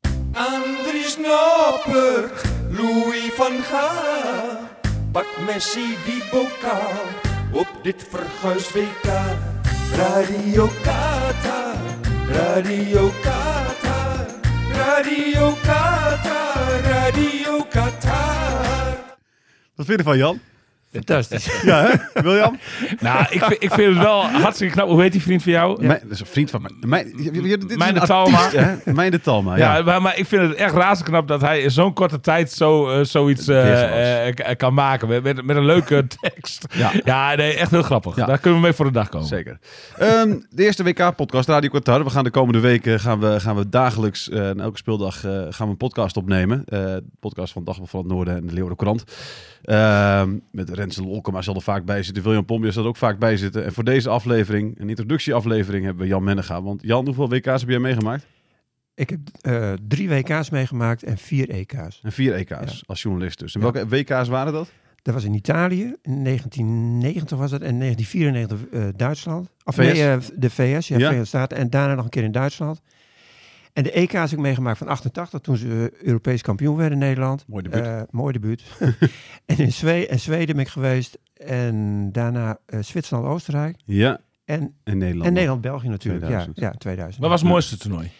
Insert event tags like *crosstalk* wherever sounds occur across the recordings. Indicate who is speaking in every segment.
Speaker 1: 12 points.
Speaker 2: Andries Noppert, Louis van Gaal. Pak Messi die bokaal op dit verguis WK. Radio Qatar, Radio Qatar, Radio Qatar, Radio Qatar.
Speaker 3: Wat vind je ervan, Jan?
Speaker 4: *laughs*
Speaker 5: Fantastisch.
Speaker 3: Ja, hè? William?
Speaker 5: *laughs* nou, ik vind, ik vind het wel hartstikke knap. Hoe heet die vriend van jou?
Speaker 3: Mijn, dat is een vriend van mij. Mijn, je- je- dit is
Speaker 5: Mijn
Speaker 3: een
Speaker 5: de
Speaker 3: artiest,
Speaker 5: Talma.
Speaker 3: hè? Mijn de Talma, ja.
Speaker 5: Ja, maar, maar ik vind het echt razend knap dat hij in zo'n korte tijd zo, eh, zoiets eh,
Speaker 3: Weergeloos.
Speaker 5: eh, k- kan maken. Met, met, met een
Speaker 3: *laughs*
Speaker 5: leuke tekst.
Speaker 3: Ja.
Speaker 5: Ja, nee, echt heel grappig.
Speaker 3: Ja.
Speaker 5: Daar kunnen we mee voor de dag komen.
Speaker 3: Zeker. Ehm, de eerste WK-podcast, Radio Qatar. We gaan de komende weken gaan we, gaan we dagelijks, eh, en elke speeldag, eh, gaan we een podcast opnemen. Eh, de podcast van Dagblad van het Noorden en de Leeuwarden Krant. Ehm, met Rens Lolkema zal er vaak bij zitten. William Pombia zal er ook vaak bij zitten. En voor deze aflevering, een introductieaflevering, hebben we Jan Mennega. Want Jan, hoeveel WK's heb jij meegemaakt?
Speaker 4: Ik heb eh, drie WK's meegemaakt en vier E EK's.
Speaker 3: En vier EK's als journalist dus. En welke WK's waren dat?
Speaker 4: Dat was in Italië, in 1990 was dat, en 1994 eh, Duitsland. Of
Speaker 3: VS?
Speaker 4: nee, eh, de VS, ja,
Speaker 3: Ja.
Speaker 4: Verenigde Staten. En daarna nog een keer in Duitsland. En de EK's heb ik meegemaakt van 88, toen ze eh, Europees kampioen werden in Nederland.
Speaker 3: Mooi debuut.
Speaker 4: Eh, mooi debuut. *laughs* en in Zwe en Zweden ben ik geweest. En daarna eh, Zwitserland, Oostenrijk.
Speaker 3: Ja,
Speaker 4: En,
Speaker 3: en Nederland.
Speaker 4: en Nederland, België natuurlijk.
Speaker 3: 2000.
Speaker 4: Ja, ja, 2000.
Speaker 5: Wat was het mooiste toernooi?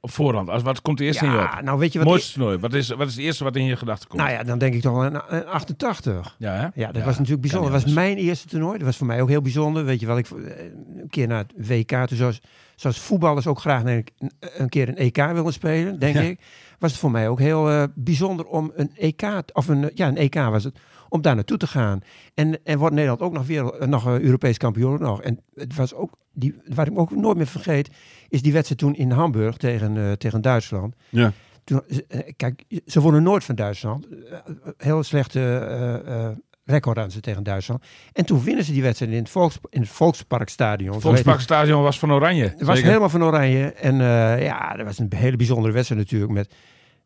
Speaker 5: Op voorhand. Als, wat komt er eerst in je
Speaker 4: ja,
Speaker 5: op?
Speaker 4: nou weet je wat...
Speaker 5: Mooiste toernooi. Wat is, wat is het eerste wat in je gedachten komt?
Speaker 4: Nou ja, dan denk ik toch wel aan aan 88.
Speaker 5: ja, hè?
Speaker 4: Ja, dat was natuurlijk bijzonder.
Speaker 5: kan
Speaker 4: Dat
Speaker 5: niet
Speaker 4: was mijn eerste toernooi. Dat was voor mij ook heel bijzonder. Weet je wel, ik eh, een keer naar het WK, toen zoals, zoals voetballers ook graag een, een keer een EK willen spelen, denk
Speaker 3: Ja.
Speaker 4: ik. Was het voor mij ook heel eh, bijzonder om een EK, t- of een, eh, ja, een EK was het, om daar naartoe te gaan. En, en wordt Nederland ook nog, wereld, eh, nog eh, Europees kampioen nog. En het was ook, die, wat ik ook nooit meer vergeet, is die wedstrijd toen in Hamburg tegen, eh, tegen Duitsland.
Speaker 3: Ja.
Speaker 4: Toen, eh, kijk, ze wonnen nooit van Duitsland. Eh, Heel slechte eh, eh, record aan ze tegen Duitsland. En toen winnen ze die wedstrijd in het, Volks, in het Volksparkstadion. Zo heet het.
Speaker 5: Volksparkstadion was van Oranje.
Speaker 4: Het was
Speaker 3: Zeker.
Speaker 4: helemaal van oranje. En eh, ja, dat was een hele bijzondere wedstrijd natuurlijk. Met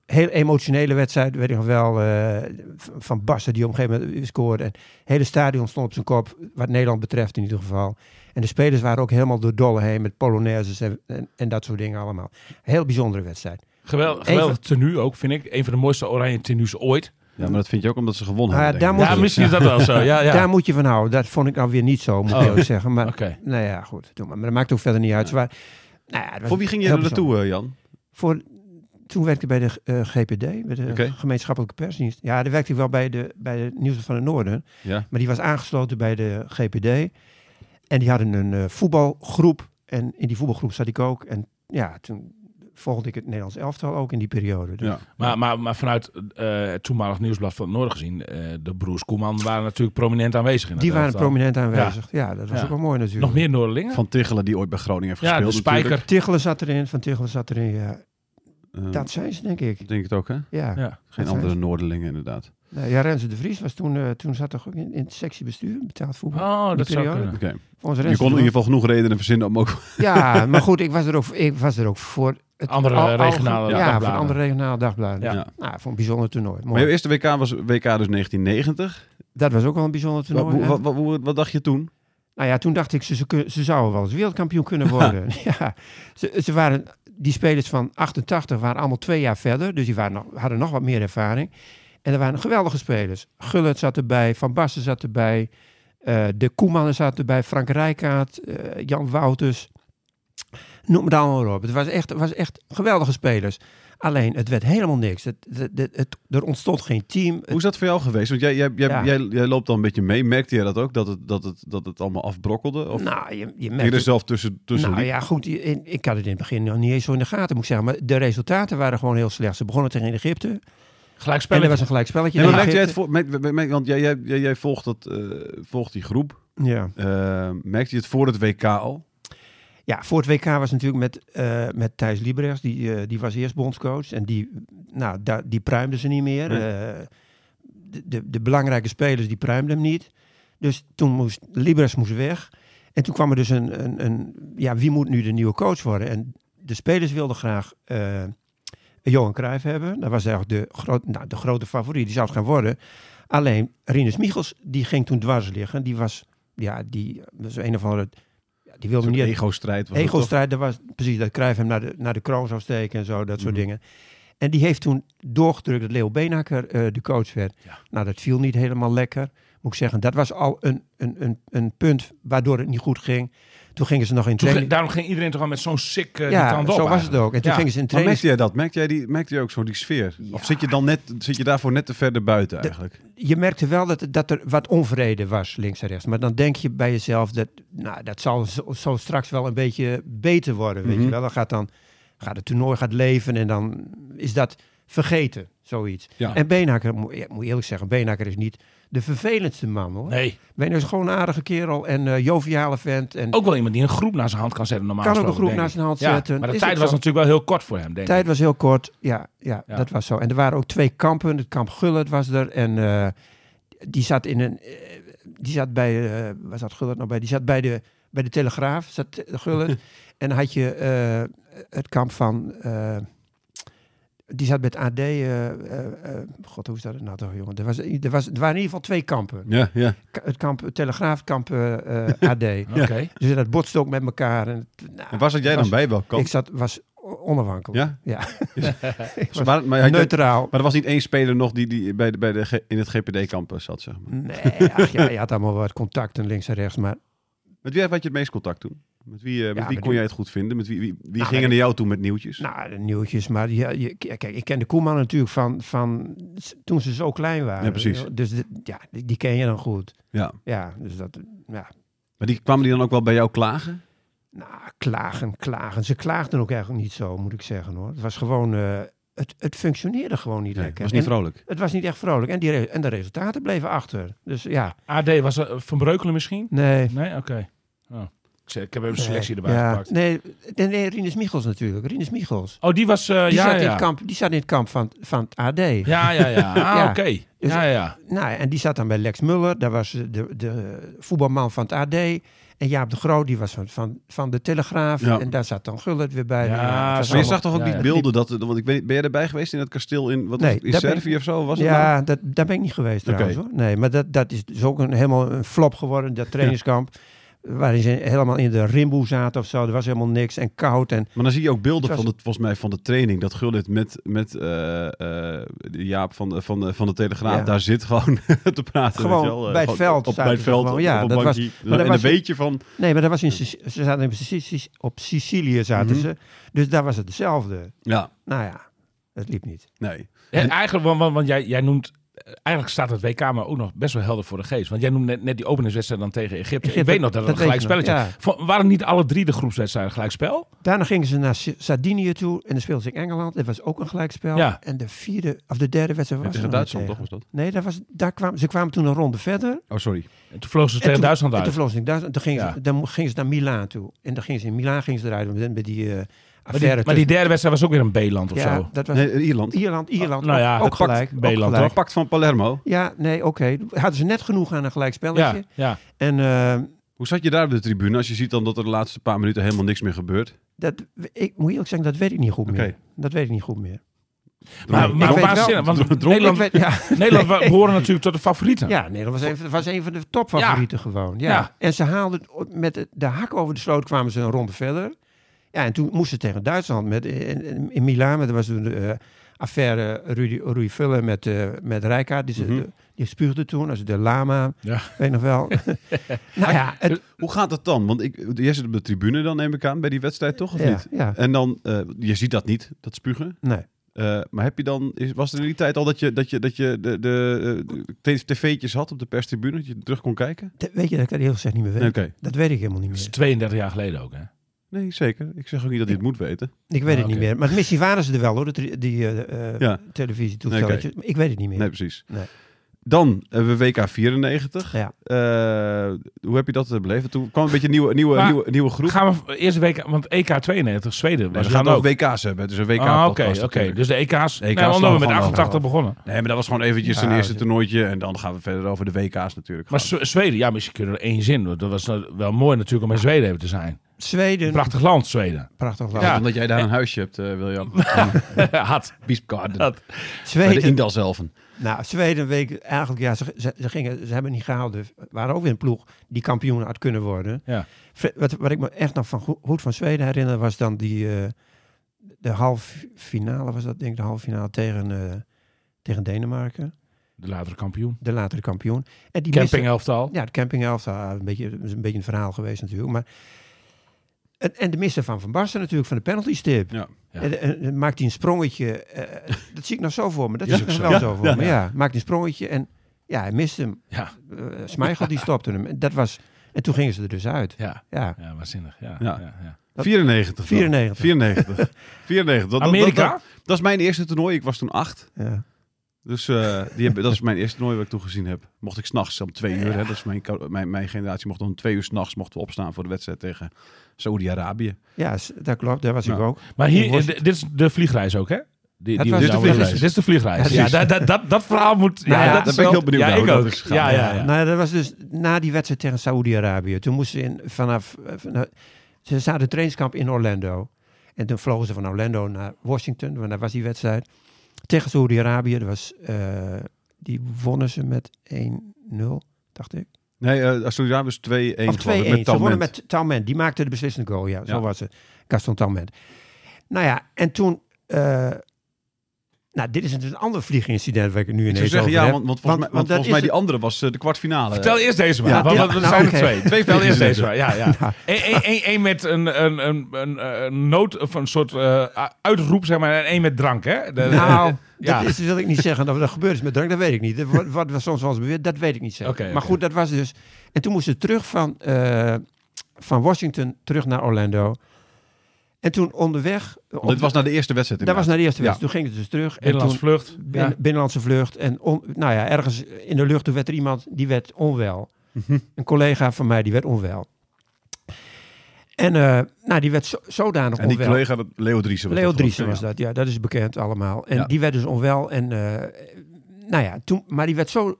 Speaker 4: heel emotionele wedstrijd, weet ik nog wel. eh, van- van Bassen die op een gegeven moment scoorde. En het hele stadion stond op zijn kop, wat Nederland betreft in ieder geval. En de spelers waren ook helemaal door dolle heen met polonaises en, en, en dat soort dingen allemaal. Heel bijzondere wedstrijd.
Speaker 5: Geweldig, geweldig tenue ook, vind ik. Een van de mooiste oranje tenues ooit.
Speaker 3: ja, maar dat vind je ook omdat ze gewonnen
Speaker 4: Ah,
Speaker 3: hebben.
Speaker 4: daar
Speaker 3: denk ik.
Speaker 4: moet
Speaker 5: Ja, misschien is dat wel
Speaker 3: Oh,
Speaker 5: zo. Ja, ja.
Speaker 4: Daar moet je van houden. Dat vond ik nou weer niet zo, moet ik
Speaker 5: Oh.
Speaker 4: eerlijk
Speaker 3: *laughs*
Speaker 4: zeggen. Maar
Speaker 5: Oké.
Speaker 4: nou ja, goed. doe maar. maar dat maakt ook verder niet uit. Ze waren- nou ja, het was
Speaker 3: Voor wie ging je
Speaker 4: heel
Speaker 3: er naartoe, eh, Jan?
Speaker 4: voor, toen werkte ik bij de eh, GPD, bij de
Speaker 3: Oké.
Speaker 4: gemeenschappelijke persdienst. Ja, daar werkte ik wel bij de, bij de Nieuws van het Noorden.
Speaker 3: Ja.
Speaker 4: Maar die was aangesloten bij de GPD. En die hadden een eh, voetbalgroep. En in die voetbalgroep zat ik ook. En ja, toen volgde ik het Nederlands elftal ook in die periode. Dus
Speaker 3: Ja.
Speaker 5: Maar, maar, maar vanuit eh, het toenmalig nieuwsblad van het Noorden gezien, eh, de broers Koeman waren natuurlijk prominent aanwezig. In
Speaker 4: Die
Speaker 5: het
Speaker 4: waren
Speaker 5: elftal.
Speaker 4: prominent aanwezig. Ja, dat was
Speaker 5: Ja.
Speaker 4: ook wel mooi natuurlijk.
Speaker 5: Nog meer Noorderlingen?
Speaker 3: Van Tichelen, die ooit bij Groningen heeft
Speaker 5: ja, de
Speaker 3: gespeeld.
Speaker 5: Spijker.
Speaker 4: Tichelen zat erin, Van Tichelen zat erin. Ja.
Speaker 3: natuurlijk. Eh,
Speaker 4: Dat zijn ze, denk ik.
Speaker 3: Ik denk het ook, hè?
Speaker 4: Ja.
Speaker 5: Ja.
Speaker 3: Geen
Speaker 4: Dat zijn
Speaker 3: andere Noorderlingen, inderdaad.
Speaker 4: ze. Nee, ja, Renze de Vries was toen, eh, toen zat toch ook in, in het sectiebestuur, betaald voetbal.
Speaker 5: Oh, dat zou
Speaker 4: periode.
Speaker 5: kunnen.
Speaker 3: Oké.
Speaker 4: Onze
Speaker 3: Je
Speaker 4: Renze
Speaker 3: kon in
Speaker 4: de
Speaker 3: ieder geval genoeg redenen verzinnen om ook...
Speaker 4: Vries- Ja, maar goed, ik was er ook, ik was er ook voor. Het
Speaker 5: Andere regionale
Speaker 4: ja,
Speaker 5: dagbladen.
Speaker 4: van andere regionale dagbladen.
Speaker 5: Ja.
Speaker 4: Ja. Nou, voor een bijzonder toernooi.
Speaker 3: Maar
Speaker 4: Mooi.
Speaker 3: je eerste WK was WK dus 1990.
Speaker 4: Dat was ook wel een bijzonder
Speaker 3: Wat,
Speaker 4: toernooi. hè?
Speaker 3: wat, wat, wat- wat dacht je toen?
Speaker 4: Nou ja, toen dacht ik, ze, ze, kun- ze zouden wel eens wereldkampioen
Speaker 3: *laughs*
Speaker 4: kunnen worden. *laughs* ja. ze, ze waren, die spelers van 88 waren allemaal twee jaar verder. Dus die waren nog, hadden nog wat meer ervaring. En er waren geweldige spelers. Gullit zat erbij, Van Basten zat erbij. eh, de Koemannen zat erbij, Frank Rijkaard, eh, Jan Wouters. Noem het allemaal maar op. Het was echt, was echt geweldige spelers. Alleen, het werd helemaal niks. Het, het, het, het- er ontstond geen team. Het-
Speaker 3: Hoe is dat voor jou geweest? Want jij, jij, jij,
Speaker 4: Ja.
Speaker 3: jij, jij loopt dan een beetje mee. Merkte jij dat ook? Dat het, dat het, dat het allemaal afbrokkelde? Of
Speaker 4: nou, je, je
Speaker 3: ging je
Speaker 4: merkt...
Speaker 3: er zelf tussen, tussen
Speaker 4: nou
Speaker 3: liep?
Speaker 4: ja, goed. je- in- Ik had het in het begin nog niet eens zo in de gaten, moet ik zeggen. Maar de resultaten waren gewoon heel slecht. Ze begonnen tegen Egypte.
Speaker 5: Gelijk
Speaker 4: En er
Speaker 5: spelen.
Speaker 4: was een gelijkspelletje.
Speaker 3: Nee, maar merkte
Speaker 4: tegen
Speaker 3: jij het
Speaker 4: Egypte.
Speaker 3: voor, merk- merk- merk- want jij, jij, jij, jij volgt, dat, eh, volgt die groep.
Speaker 4: Ja.
Speaker 3: Eh, merkte je het voor het WK al?
Speaker 4: Ja, voor het WK was natuurlijk met, eh, met Thijs Librechts, die, eh, die was eerst bondscoach. En die, nou, daar die pruimde ze niet meer.
Speaker 3: Nee.
Speaker 4: Eh, de, de, de belangrijke spelers, die pruimden hem niet. Dus toen moest Librechts moest weg. En toen kwam er dus een, een, een, ja, wie moet nu de nieuwe coach worden? En de spelers wilden graag eh, Johan Cruijff hebben. Dat was eigenlijk de, groot, nou, de grote favoriet, die zou het gaan worden. Alleen Rinus Michels, die ging toen dwars liggen. Die was, ja, die was een of andere... ja, Die wilde
Speaker 3: Zo'n
Speaker 4: hem niet
Speaker 3: ego-strijd was het toch?
Speaker 4: Ego-strijd, dat was precies dat Cruijff hem naar de, naar de kroon zou steken en zo, dat soort
Speaker 5: Mhm.
Speaker 4: dingen. En die heeft toen doorgedrukt dat Leo Beenhakker eh, de coach werd. Nou, dat viel niet helemaal lekker, moet ik zeggen. Dat was al een, een, een, een punt waardoor het niet goed ging. Toen gingen ze nog in
Speaker 5: Toen ging-
Speaker 4: training.
Speaker 5: daarom ging iedereen toch al met zo'n sick eh, die
Speaker 4: ja,
Speaker 5: kant op
Speaker 4: zo was het
Speaker 5: eigenlijk.
Speaker 4: ook. En toen
Speaker 5: Ja.
Speaker 4: gingen ze in
Speaker 3: Maar
Speaker 4: training.
Speaker 3: merkte jij dat? Merkte jij, die, merkte jij ook zo die sfeer? Of zit je, dan net, zit je daarvoor net te verder buiten eigenlijk?
Speaker 4: je merkte wel dat, dat er wat onvrede was, links en rechts. Maar dan denk je bij jezelf, dat, nou, dat zal zo, zo straks wel een beetje beter worden. Weet je wel, dan gaat, dan gaat het toernooi gaat leven en dan is dat vergeten, zoiets.
Speaker 3: Ja.
Speaker 4: En Beenhakker, moet ja, moet eerlijk zeggen, Beenhakker is niet de vervelendste man hoor.
Speaker 5: Nee,
Speaker 4: Beenhakker is gewoon een aardige kerel en eh, joviale vent. En
Speaker 5: ook wel iemand die een groep naar zijn hand kan zetten normaal
Speaker 4: Kan ook een
Speaker 5: gesproken,
Speaker 4: groep
Speaker 5: denk ik.
Speaker 4: naar zijn
Speaker 5: Ja,
Speaker 4: hand zetten.
Speaker 5: Maar de
Speaker 4: Is
Speaker 5: tijd
Speaker 4: ook
Speaker 5: was
Speaker 4: zo.
Speaker 5: natuurlijk wel heel kort voor hem,
Speaker 4: de
Speaker 5: denk
Speaker 4: tijd
Speaker 5: ik.
Speaker 4: was heel kort, ja, ja,
Speaker 5: Ja.
Speaker 4: dat was zo. En er waren ook twee kampen, het kamp Gullet was er en... eh, die zat in een. eh, die zat bij. eh, waar zat Gullit nou bij? Die zat bij de, bij de Telegraaf. Zat Te-
Speaker 5: *laughs*
Speaker 4: Gullit. en dan had je eh, het kamp van. eh, die zat bij het AD. eh, eh, eh, God, hoe is dat nou toch, jongen? Er, was, er, was, er waren in ieder geval twee kampen.
Speaker 3: Ja, ja.
Speaker 4: Ka- Het kamp Telegraaf, het kamp eh, eh, AD.
Speaker 5: *laughs* Oké.
Speaker 4: Dus dat botste ook met elkaar. En, het- nou,
Speaker 3: En waar zat jij dan
Speaker 4: was-
Speaker 3: bij? Welk
Speaker 4: Ik
Speaker 3: kant?
Speaker 4: zat, was o- onafhankelijk.
Speaker 3: Ja?
Speaker 4: Ja,
Speaker 3: Maar, maar, had je-
Speaker 4: *laughs* neutraal.
Speaker 3: maar er was niet één speler nog die, die bij de, bij de, G- in het GPD-kamp zat, zeg maar.
Speaker 4: Nee, ach, ja, je had allemaal wat contacten links en rechts. Maar
Speaker 3: Met wie had je het meest contact toen? Met wie, eh, met
Speaker 4: Ja,
Speaker 3: wie
Speaker 4: met
Speaker 3: kon
Speaker 4: die- Nou,
Speaker 3: jij het goed vinden? Met wie, wie, wie
Speaker 4: met
Speaker 3: gingen naar jou toe met nieuwtjes?
Speaker 4: Nou, de nieuwtjes, maar ja, je, kijk, ik ken de Koeman natuurlijk van, van s- toen ze zo klein waren.
Speaker 3: Ja, precies.
Speaker 4: Dus dit- ja, die, die ken je dan goed.
Speaker 3: ja.
Speaker 4: Ja, dus dat, ja.
Speaker 3: Maar die, kwamen die dan ook wel bij jou klagen?
Speaker 4: Nou, klagen, klagen. Ze klaagden ook eigenlijk niet zo, moet ik zeggen hoor. Het was gewoon, eh, het, het functioneerde gewoon niet
Speaker 3: Nee,
Speaker 4: lekker.
Speaker 3: was niet
Speaker 4: En
Speaker 3: vrolijk.
Speaker 4: Het was niet echt vrolijk. En, die re- en de resultaten bleven achter. Dus ja,
Speaker 5: AD was er, eh, Van Breukelen misschien?
Speaker 4: nee.
Speaker 5: Nee, oké. Oh. Ik zeg, Ik heb even een selectie
Speaker 4: Nee,
Speaker 5: erbij
Speaker 4: ja.
Speaker 5: gepakt.
Speaker 4: Nee, nee, nee, Rinus Michels natuurlijk. Rinus Michels.
Speaker 5: Oh, die was... eh,
Speaker 4: Die,
Speaker 5: ja,
Speaker 4: zat In
Speaker 5: ja.
Speaker 4: het kamp, die zat in het kamp van, van het AD.
Speaker 5: ja, ja,
Speaker 4: *laughs*
Speaker 5: ja. Ah,
Speaker 4: Ja.
Speaker 5: oké.
Speaker 4: Dus-
Speaker 5: Ja, ja.
Speaker 4: Nou, en die zat dan bij Lex Muller, daar was eh, de, de voetbalman van het AD. En Jaap de Groot, die was van, van, van de Telegraaf.
Speaker 3: Ja.
Speaker 4: En daar zat dan Gullit weer bij.
Speaker 5: Ja,
Speaker 4: Nou, het was
Speaker 5: zo.
Speaker 3: Maar je
Speaker 5: allemaal-
Speaker 3: zag toch ook
Speaker 5: ja,
Speaker 3: die
Speaker 5: ja.
Speaker 3: beelden dat... Want ik weet, ben jij erbij geweest in dat kasteel in, wat was
Speaker 4: Nee,
Speaker 3: het, in
Speaker 4: daar ben ik-
Speaker 3: Servië of zo? Was het nou?
Speaker 4: ja, dat, daar ben ik niet geweest
Speaker 3: Oké.
Speaker 4: trouwens. Hoor. Nee, maar dat, dat is dus ook een, helemaal een flop geworden, dat trainingskamp. Waarin ze helemaal in de rimboe zaten of zo. Er was helemaal niks en koud. En
Speaker 3: Maar dan zie je ook beelden
Speaker 4: Het was-
Speaker 3: van, het, volgens mij, van de training. Dat Gullit met, met eh, eh, de Jaap van de, van de, van de Telegraaf
Speaker 4: Ja.
Speaker 3: daar zit gewoon *laughs* te praten.
Speaker 4: Gewoon
Speaker 3: weet je wel. Eh,
Speaker 4: bij het
Speaker 3: gewoon
Speaker 4: veld
Speaker 3: Op, bij
Speaker 4: zaten
Speaker 3: het
Speaker 4: ze
Speaker 3: veld,
Speaker 4: gewoon.
Speaker 3: op,
Speaker 4: Ja,
Speaker 3: op een
Speaker 4: dat was-
Speaker 3: bankje.
Speaker 4: maar dat
Speaker 3: en
Speaker 4: was-
Speaker 3: een beetje van...
Speaker 4: nee, maar dat was in, Sic- ze zaten in Sicilië, op Sicilië zaten
Speaker 3: Mhm.
Speaker 4: ze. Dus daar was het hetzelfde.
Speaker 3: Ja,
Speaker 4: Nou ja, het liep niet.
Speaker 3: nee.
Speaker 5: En eigenlijk, want, want, want jij, jij noemt... eh, Eigenlijk staat het WK maar ook nog best wel helder voor de geest. Want jij noemde net, net die openingswedstrijd dan tegen Egypte. Ik
Speaker 4: Egypte,
Speaker 5: weet nog dat het
Speaker 4: dat
Speaker 5: een gelijk
Speaker 4: weet ik
Speaker 5: spelletje
Speaker 4: nog,
Speaker 5: was. Vo- Waren niet alle drie de groepswedstrijden gelijk spel?
Speaker 4: Daarna gingen ze naar S- Sardinië toe en dan speelden ze in Engeland. Dat was ook een gelijkspel.
Speaker 5: Ja.
Speaker 4: En de vierde of de derde wedstrijd was er
Speaker 3: Tegen
Speaker 4: nog
Speaker 3: Duitsland
Speaker 4: niet
Speaker 3: toch was
Speaker 4: tegen.
Speaker 3: dat?
Speaker 4: Nee, daar was, daar kwamen, ze kwamen toen een ronde verder. En
Speaker 3: Oh, sorry.
Speaker 5: En toen vlogen ze tegen
Speaker 4: toen-
Speaker 5: Duitsland
Speaker 4: En toen
Speaker 5: uit.
Speaker 4: vlogen ze in Duitsland. Toen gingen,
Speaker 5: Ja.
Speaker 4: ze, dan mo- gingen ze naar Milaan toe. En dan gingen ze in Milaan gingen ze eruit met, met die eh
Speaker 5: Maar
Speaker 4: affaire.
Speaker 5: die, maar die
Speaker 4: tussen-
Speaker 5: derde wedstrijd was ook weer een B-land of
Speaker 4: ja,
Speaker 5: zo.
Speaker 4: dat was
Speaker 3: Nee, Ierland.
Speaker 4: Ierland, Ierland.
Speaker 5: nou ja,
Speaker 4: ook,
Speaker 5: dat
Speaker 4: ook
Speaker 5: pakt
Speaker 4: gelijk. ook
Speaker 5: Beland,
Speaker 4: gelijk.
Speaker 3: Het Pact van Palermo.
Speaker 4: Ja, nee, oké. Hadden ze net genoeg aan een gelijkspelletje.
Speaker 5: Ja, ja.
Speaker 4: En eh,
Speaker 3: Hoe zat je daar op de tribune als je ziet dan dat er de laatste paar minuten helemaal niks meer gebeurt?
Speaker 4: dat, ik moet eerlijk zeggen, dat weet ik niet goed meer.
Speaker 3: Oké.
Speaker 4: Dat weet ik niet goed meer.
Speaker 5: Maar, maar
Speaker 4: ik
Speaker 5: een
Speaker 4: weet
Speaker 5: paar
Speaker 4: wel-
Speaker 5: zinnen,
Speaker 3: *laughs* Dronken-
Speaker 5: want
Speaker 4: Ik
Speaker 5: Nederland,
Speaker 4: weet, ja.
Speaker 5: Nederland
Speaker 4: *laughs*
Speaker 5: wa- behoorde natuurlijk tot de favorieten.
Speaker 4: Ja, nee, dat was een, dat was een van de topfavorieten gewoon. Ja.
Speaker 5: Ja.
Speaker 4: En ze haalden het- met de, de hak over de sloot kwamen ze een ronde verder. Ja, en toen moesten ze tegen Duitsland met, in, in- in Milaan. maar Dat was toen de eh, affaire Rudy, Rudy Vullen met, eh met Rijkaard. Die, ze-
Speaker 3: Mhm.
Speaker 4: die spuugde toen, als de lama.
Speaker 5: Ja.
Speaker 4: Weet je nog
Speaker 3: *laughs*
Speaker 4: wel. nou ja, het,
Speaker 3: Hoe gaat dat dan? Want ik, jij zit op de tribune dan neem ik aan bij die wedstrijd toch of
Speaker 4: ja,
Speaker 3: niet?
Speaker 4: ja,
Speaker 3: En dan, eh, je ziet dat niet, dat spugen.
Speaker 4: nee.
Speaker 3: Eh, maar heb je dan, is- was er in die tijd al dat je, dat je, dat je de, de, eh, de tv'tjes had op de perstribune, dat je terug kon kijken?
Speaker 4: Dat weet je dat ik dat heel gezegd niet meer weet?
Speaker 3: Nee, Oké.
Speaker 4: Dat weet ik helemaal niet
Speaker 5: Dat is
Speaker 4: meer.
Speaker 5: 32 jaar geleden ook, hè?
Speaker 3: Nee, zeker. Ik zeg ook niet dat je het moet weten.
Speaker 4: Ik weet
Speaker 5: Ah,
Speaker 4: het niet
Speaker 5: oké.
Speaker 4: meer. Maar misschien waren ze er wel hoor, dat die, die eh, eh,
Speaker 3: Ja.
Speaker 4: televisietoestelletjes. Maar ik weet het niet meer.
Speaker 3: Nee, precies.
Speaker 4: Nee.
Speaker 3: Dan hebben we WK 94.
Speaker 4: Ja.
Speaker 3: Eh, hoe heb je dat eh, beleefd? Toen kwam een beetje een nieuwe, nieuwe,
Speaker 5: Maar-
Speaker 3: nieuwe, nieuwe groep.
Speaker 5: Gaan we eerst week, want EK 92, Zweden.
Speaker 3: Nee,
Speaker 5: was
Speaker 3: we gaan
Speaker 5: dan
Speaker 3: nog
Speaker 5: ook.
Speaker 3: WK's hebben. Dus een WK.
Speaker 5: Ah, Oké,
Speaker 3: podcast
Speaker 5: oké.
Speaker 3: natuurlijk.
Speaker 5: Dus de
Speaker 4: E
Speaker 5: EK's.
Speaker 3: EK's
Speaker 5: nee, want dan
Speaker 3: slaan
Speaker 5: we met
Speaker 3: gewoon
Speaker 5: 88
Speaker 4: over.
Speaker 5: begonnen.
Speaker 3: Nee, maar dat was gewoon eventjes een
Speaker 4: Ja,
Speaker 3: eerste
Speaker 4: dat-
Speaker 3: toernooitje. En dan gaan we verder over de WK's natuurlijk.
Speaker 5: Maar
Speaker 3: gaan.
Speaker 5: Zwe- Zweden, ja, misschien kunnen we er één zin. want Dat was nou wel mooi natuurlijk om in Zweden even te zijn.
Speaker 4: Zweden,
Speaker 5: Prachtig land, Zweden.
Speaker 4: prachtig land.
Speaker 3: Ja,
Speaker 5: Ja.
Speaker 3: omdat jij daar een huisje hebt, eh, William.
Speaker 5: *laughs* Had.
Speaker 3: Biesgarden.
Speaker 5: Dat.
Speaker 3: Bij de
Speaker 4: Zweden,
Speaker 3: Indalselven.
Speaker 4: nou, Zweden week eigenlijk, ja, ze, ze, ze gingen, ze hebben het niet gehaald. Er waren ook weer een ploeg die kampioen had kunnen worden.
Speaker 5: Ja.
Speaker 4: Fre- Wat, wat ik me echt nog van go- goed van Zweden herinner, was dan die eh, de halve finale, was dat denk ik, de halve finale tegen, eh, tegen Denemarken.
Speaker 5: De latere kampioen.
Speaker 4: De latere kampioen. En die miste-
Speaker 5: Campinghelftal.
Speaker 4: Ja, de campinghelft, ah, een beetje, is een beetje een verhaal geweest natuurlijk. Maar, en, en de missen van Van Basten natuurlijk, van de penalty stip.
Speaker 3: Ja.
Speaker 5: Ja.
Speaker 4: En, en- en maakt hij een sprongetje. eh, dat zie ik nog zo voor me. Dat
Speaker 5: Ja,
Speaker 4: zie ik
Speaker 5: is
Speaker 4: nog
Speaker 5: ook
Speaker 4: wel
Speaker 5: zo.
Speaker 4: zo voor
Speaker 5: Ja,
Speaker 4: me.
Speaker 5: ja.
Speaker 4: Ja. maakt hij een sprongetje en ja, hij mist hem.
Speaker 5: Ja.
Speaker 4: Eh Smeichel die stopte hem. En, dat was, en toen gingen ze er dus uit.
Speaker 5: Ja.
Speaker 4: Ja.
Speaker 5: Ja, waanzinnig. Ja.
Speaker 3: Ja.
Speaker 5: Ja. Ja.
Speaker 3: 94. dan.
Speaker 4: 94. *laughs*
Speaker 3: 94. 94. Dat- dat-
Speaker 5: Amerika?
Speaker 3: Dat, dat, dat is mijn eerste toernooi. Ik was toen acht.
Speaker 4: Ja.
Speaker 3: Dus eh, die hebben, dat is mijn eerste toernooi wat ik toen gezien heb. Mocht ik s'nachts om twee uur. Hè, dat is mijn, ko- mijn, mijn generatie mocht om twee uur s'nachts mochten we opstaan voor de wedstrijd tegen Saoedi-Arabië.
Speaker 4: ja, s- dat klopt. Daar was
Speaker 3: Ja.
Speaker 4: ik ook.
Speaker 5: Nou, Maar
Speaker 4: In
Speaker 5: hier,
Speaker 4: Washington.
Speaker 5: eh, dit is de vliegreis ook, hè? Die,
Speaker 4: Het
Speaker 5: die
Speaker 4: was
Speaker 5: we
Speaker 3: de
Speaker 5: nou-
Speaker 3: vliegreis.
Speaker 5: dit is- Dit is de vliegreis.
Speaker 4: Ja,
Speaker 5: Ja, dat, dat, dat, dat verhaal moet...
Speaker 4: Nou
Speaker 5: ja,
Speaker 4: ja,
Speaker 5: dat
Speaker 3: daar
Speaker 5: is
Speaker 3: ben ik
Speaker 5: wel-
Speaker 3: heel benieuwd
Speaker 5: Ja,
Speaker 3: naar hoe
Speaker 5: ik
Speaker 3: dat
Speaker 5: ook.
Speaker 3: is gegaan.
Speaker 5: ja, ja, ja.
Speaker 4: Nou, ja, dat was dus na die wedstrijd tegen Saoedi-Arabië. Toen moesten ze in, vanaf, eh, vanaf- Ze zaten trainingskamp in Orlando. En toen vlogen ze van Orlando naar Washington, want daar was die wedstrijd. Tegen Saoedi-Arabië, dat was, eh, die wonnen ze met 1-0, dacht ik.
Speaker 3: Nee, eh Saoedi-Arabië is 2-1
Speaker 4: Of 2-1.
Speaker 3: geloof ik,
Speaker 4: Ze wonnen
Speaker 3: Talment.
Speaker 4: met Talment. Die maakte de beslissende goal. Ja, zo
Speaker 3: Ja.
Speaker 4: was het. Gaston Talment. Nou ja, en toen... eh, nou, dit is een ander vliegincident waar ik het nu
Speaker 3: Ik zou
Speaker 4: ineens
Speaker 3: zeggen
Speaker 4: over
Speaker 3: ja,
Speaker 4: heb.
Speaker 3: want, want volgens, mij, want
Speaker 4: dat
Speaker 3: volgens
Speaker 4: is
Speaker 3: mij
Speaker 4: het-
Speaker 3: die andere was eh, de kwartfinale.
Speaker 5: Vertel eerst deze maar.
Speaker 3: Ja,
Speaker 5: want
Speaker 4: ja.
Speaker 5: er
Speaker 4: Nou,
Speaker 5: zijn
Speaker 4: oké.
Speaker 5: er twee. Twee Vertel
Speaker 3: *laughs*
Speaker 5: eerst deze maar. Ja, ja.
Speaker 4: Ja.
Speaker 5: Eén één- één- één met een, een, een, een, eh, een nood of een soort eh, uitroep, zeg maar. En één met drank, hè? De-
Speaker 4: Nou,
Speaker 5: *laughs* ja.
Speaker 4: dat is, wil ik niet zeggen. Dat er gebeurd is met drank, dat weet ik niet. Dat Wat, wat was soms wel eens beweerd, dat weet ik niet zeker.
Speaker 5: Oké,
Speaker 4: maar
Speaker 5: oké.
Speaker 4: goed, dat was dus... En toen moesten ze terug van, eh, van Washington terug naar Orlando. En toen onderweg... op-
Speaker 3: Want dit was naar de eerste wedstrijd
Speaker 4: dat was naar de eerste
Speaker 3: Ja.
Speaker 4: wedstrijd. Toen ging het dus terug.
Speaker 5: Nederlands
Speaker 4: en toen,
Speaker 5: vlucht.
Speaker 4: bin-
Speaker 5: Ja.
Speaker 4: Binnenlandse vlucht. En on- nou ja, ergens in de lucht toen werd er iemand, die werd onwel.
Speaker 3: Mhm.
Speaker 4: Een collega van mij, die werd onwel. En eh, nou, die werd zo, zodanig
Speaker 3: En die
Speaker 4: onwel.
Speaker 3: collega, dat- Leo Driessen was
Speaker 4: Leo
Speaker 3: dat, geloof ik,
Speaker 4: Driessen was
Speaker 3: ja.
Speaker 4: dat, ja, dat is bekend allemaal. En
Speaker 3: Ja.
Speaker 4: die werd dus onwel. En, eh, nou ja, toen, maar die werd zo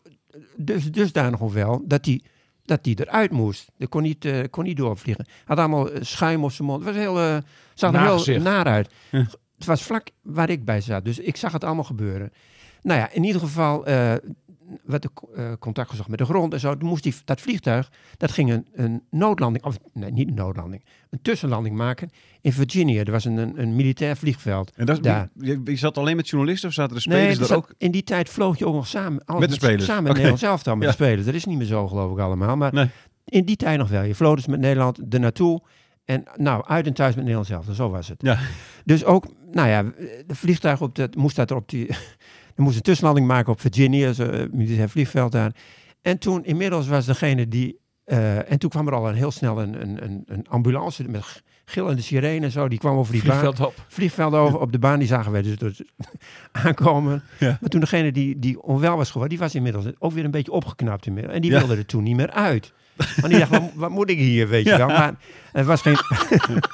Speaker 4: dus, dusdanig onwel dat die, dat die eruit moest. Die kon niet, eh, kon niet doorvliegen. Had allemaal eh, schuim op zijn mond. Het was heel, eh, zag er
Speaker 5: Naar
Speaker 4: heel
Speaker 5: gezicht.
Speaker 4: naar uit.
Speaker 3: Ja.
Speaker 4: Het was vlak waar ik bij zat, dus ik zag het allemaal gebeuren. Nou ja, in ieder geval eh werd de co- eh, contact gezocht met de grond en zo. Toen moest die, dat vliegtuig, dat ging een, een noodlanding, of nee, niet een noodlanding, een tussenlanding maken in Virginia. Er was een, een, een militair vliegveld.
Speaker 3: En dat is-
Speaker 4: Daar.
Speaker 3: je, je zat alleen met journalisten of zaten de
Speaker 4: Nee,
Speaker 3: spelers
Speaker 4: dat
Speaker 3: er
Speaker 4: zat-
Speaker 3: ook?
Speaker 4: in die tijd vloog je ook nog samen. alles
Speaker 3: Met de spelers.
Speaker 4: Samen met
Speaker 3: Oké.
Speaker 4: Nederland zelf dan met
Speaker 3: Ja.
Speaker 4: de spelers. Dat is niet meer zo, geloof ik allemaal. Maar
Speaker 3: Nee.
Speaker 4: in die tijd nog wel. Je vloog dus met Nederland er naartoe. En nou, uit en thuis met Nederland zelf. Zo was het.
Speaker 3: Ja.
Speaker 4: Dus ook, nou ja, de vliegtuig op dat, moest dat er op die... *laughs* Er moest een tussenlanding maken op Virginia, zo, eh, militair vliegveld daar. En toen, inmiddels was degene die... eh, en toen kwam er al een, heel snel een, een, een, een ambulance met g- gillende sirene en zo. Die kwam over die baan
Speaker 5: Vliegveld op.
Speaker 4: vliegveld over op de baan. Die zagen wij dus, dus *laughs* aankomen.
Speaker 3: Ja. *laughs*
Speaker 4: Maar toen degene die, die onwel was geworden, die was inmiddels ook weer een beetje opgeknapt inmiddels. En die
Speaker 3: Ja.
Speaker 4: wilde er toen niet meer uit. Want die dacht, wat, wat moet ik hier, weet
Speaker 3: Ja.
Speaker 4: je wel. Maar er was geen... *laughs*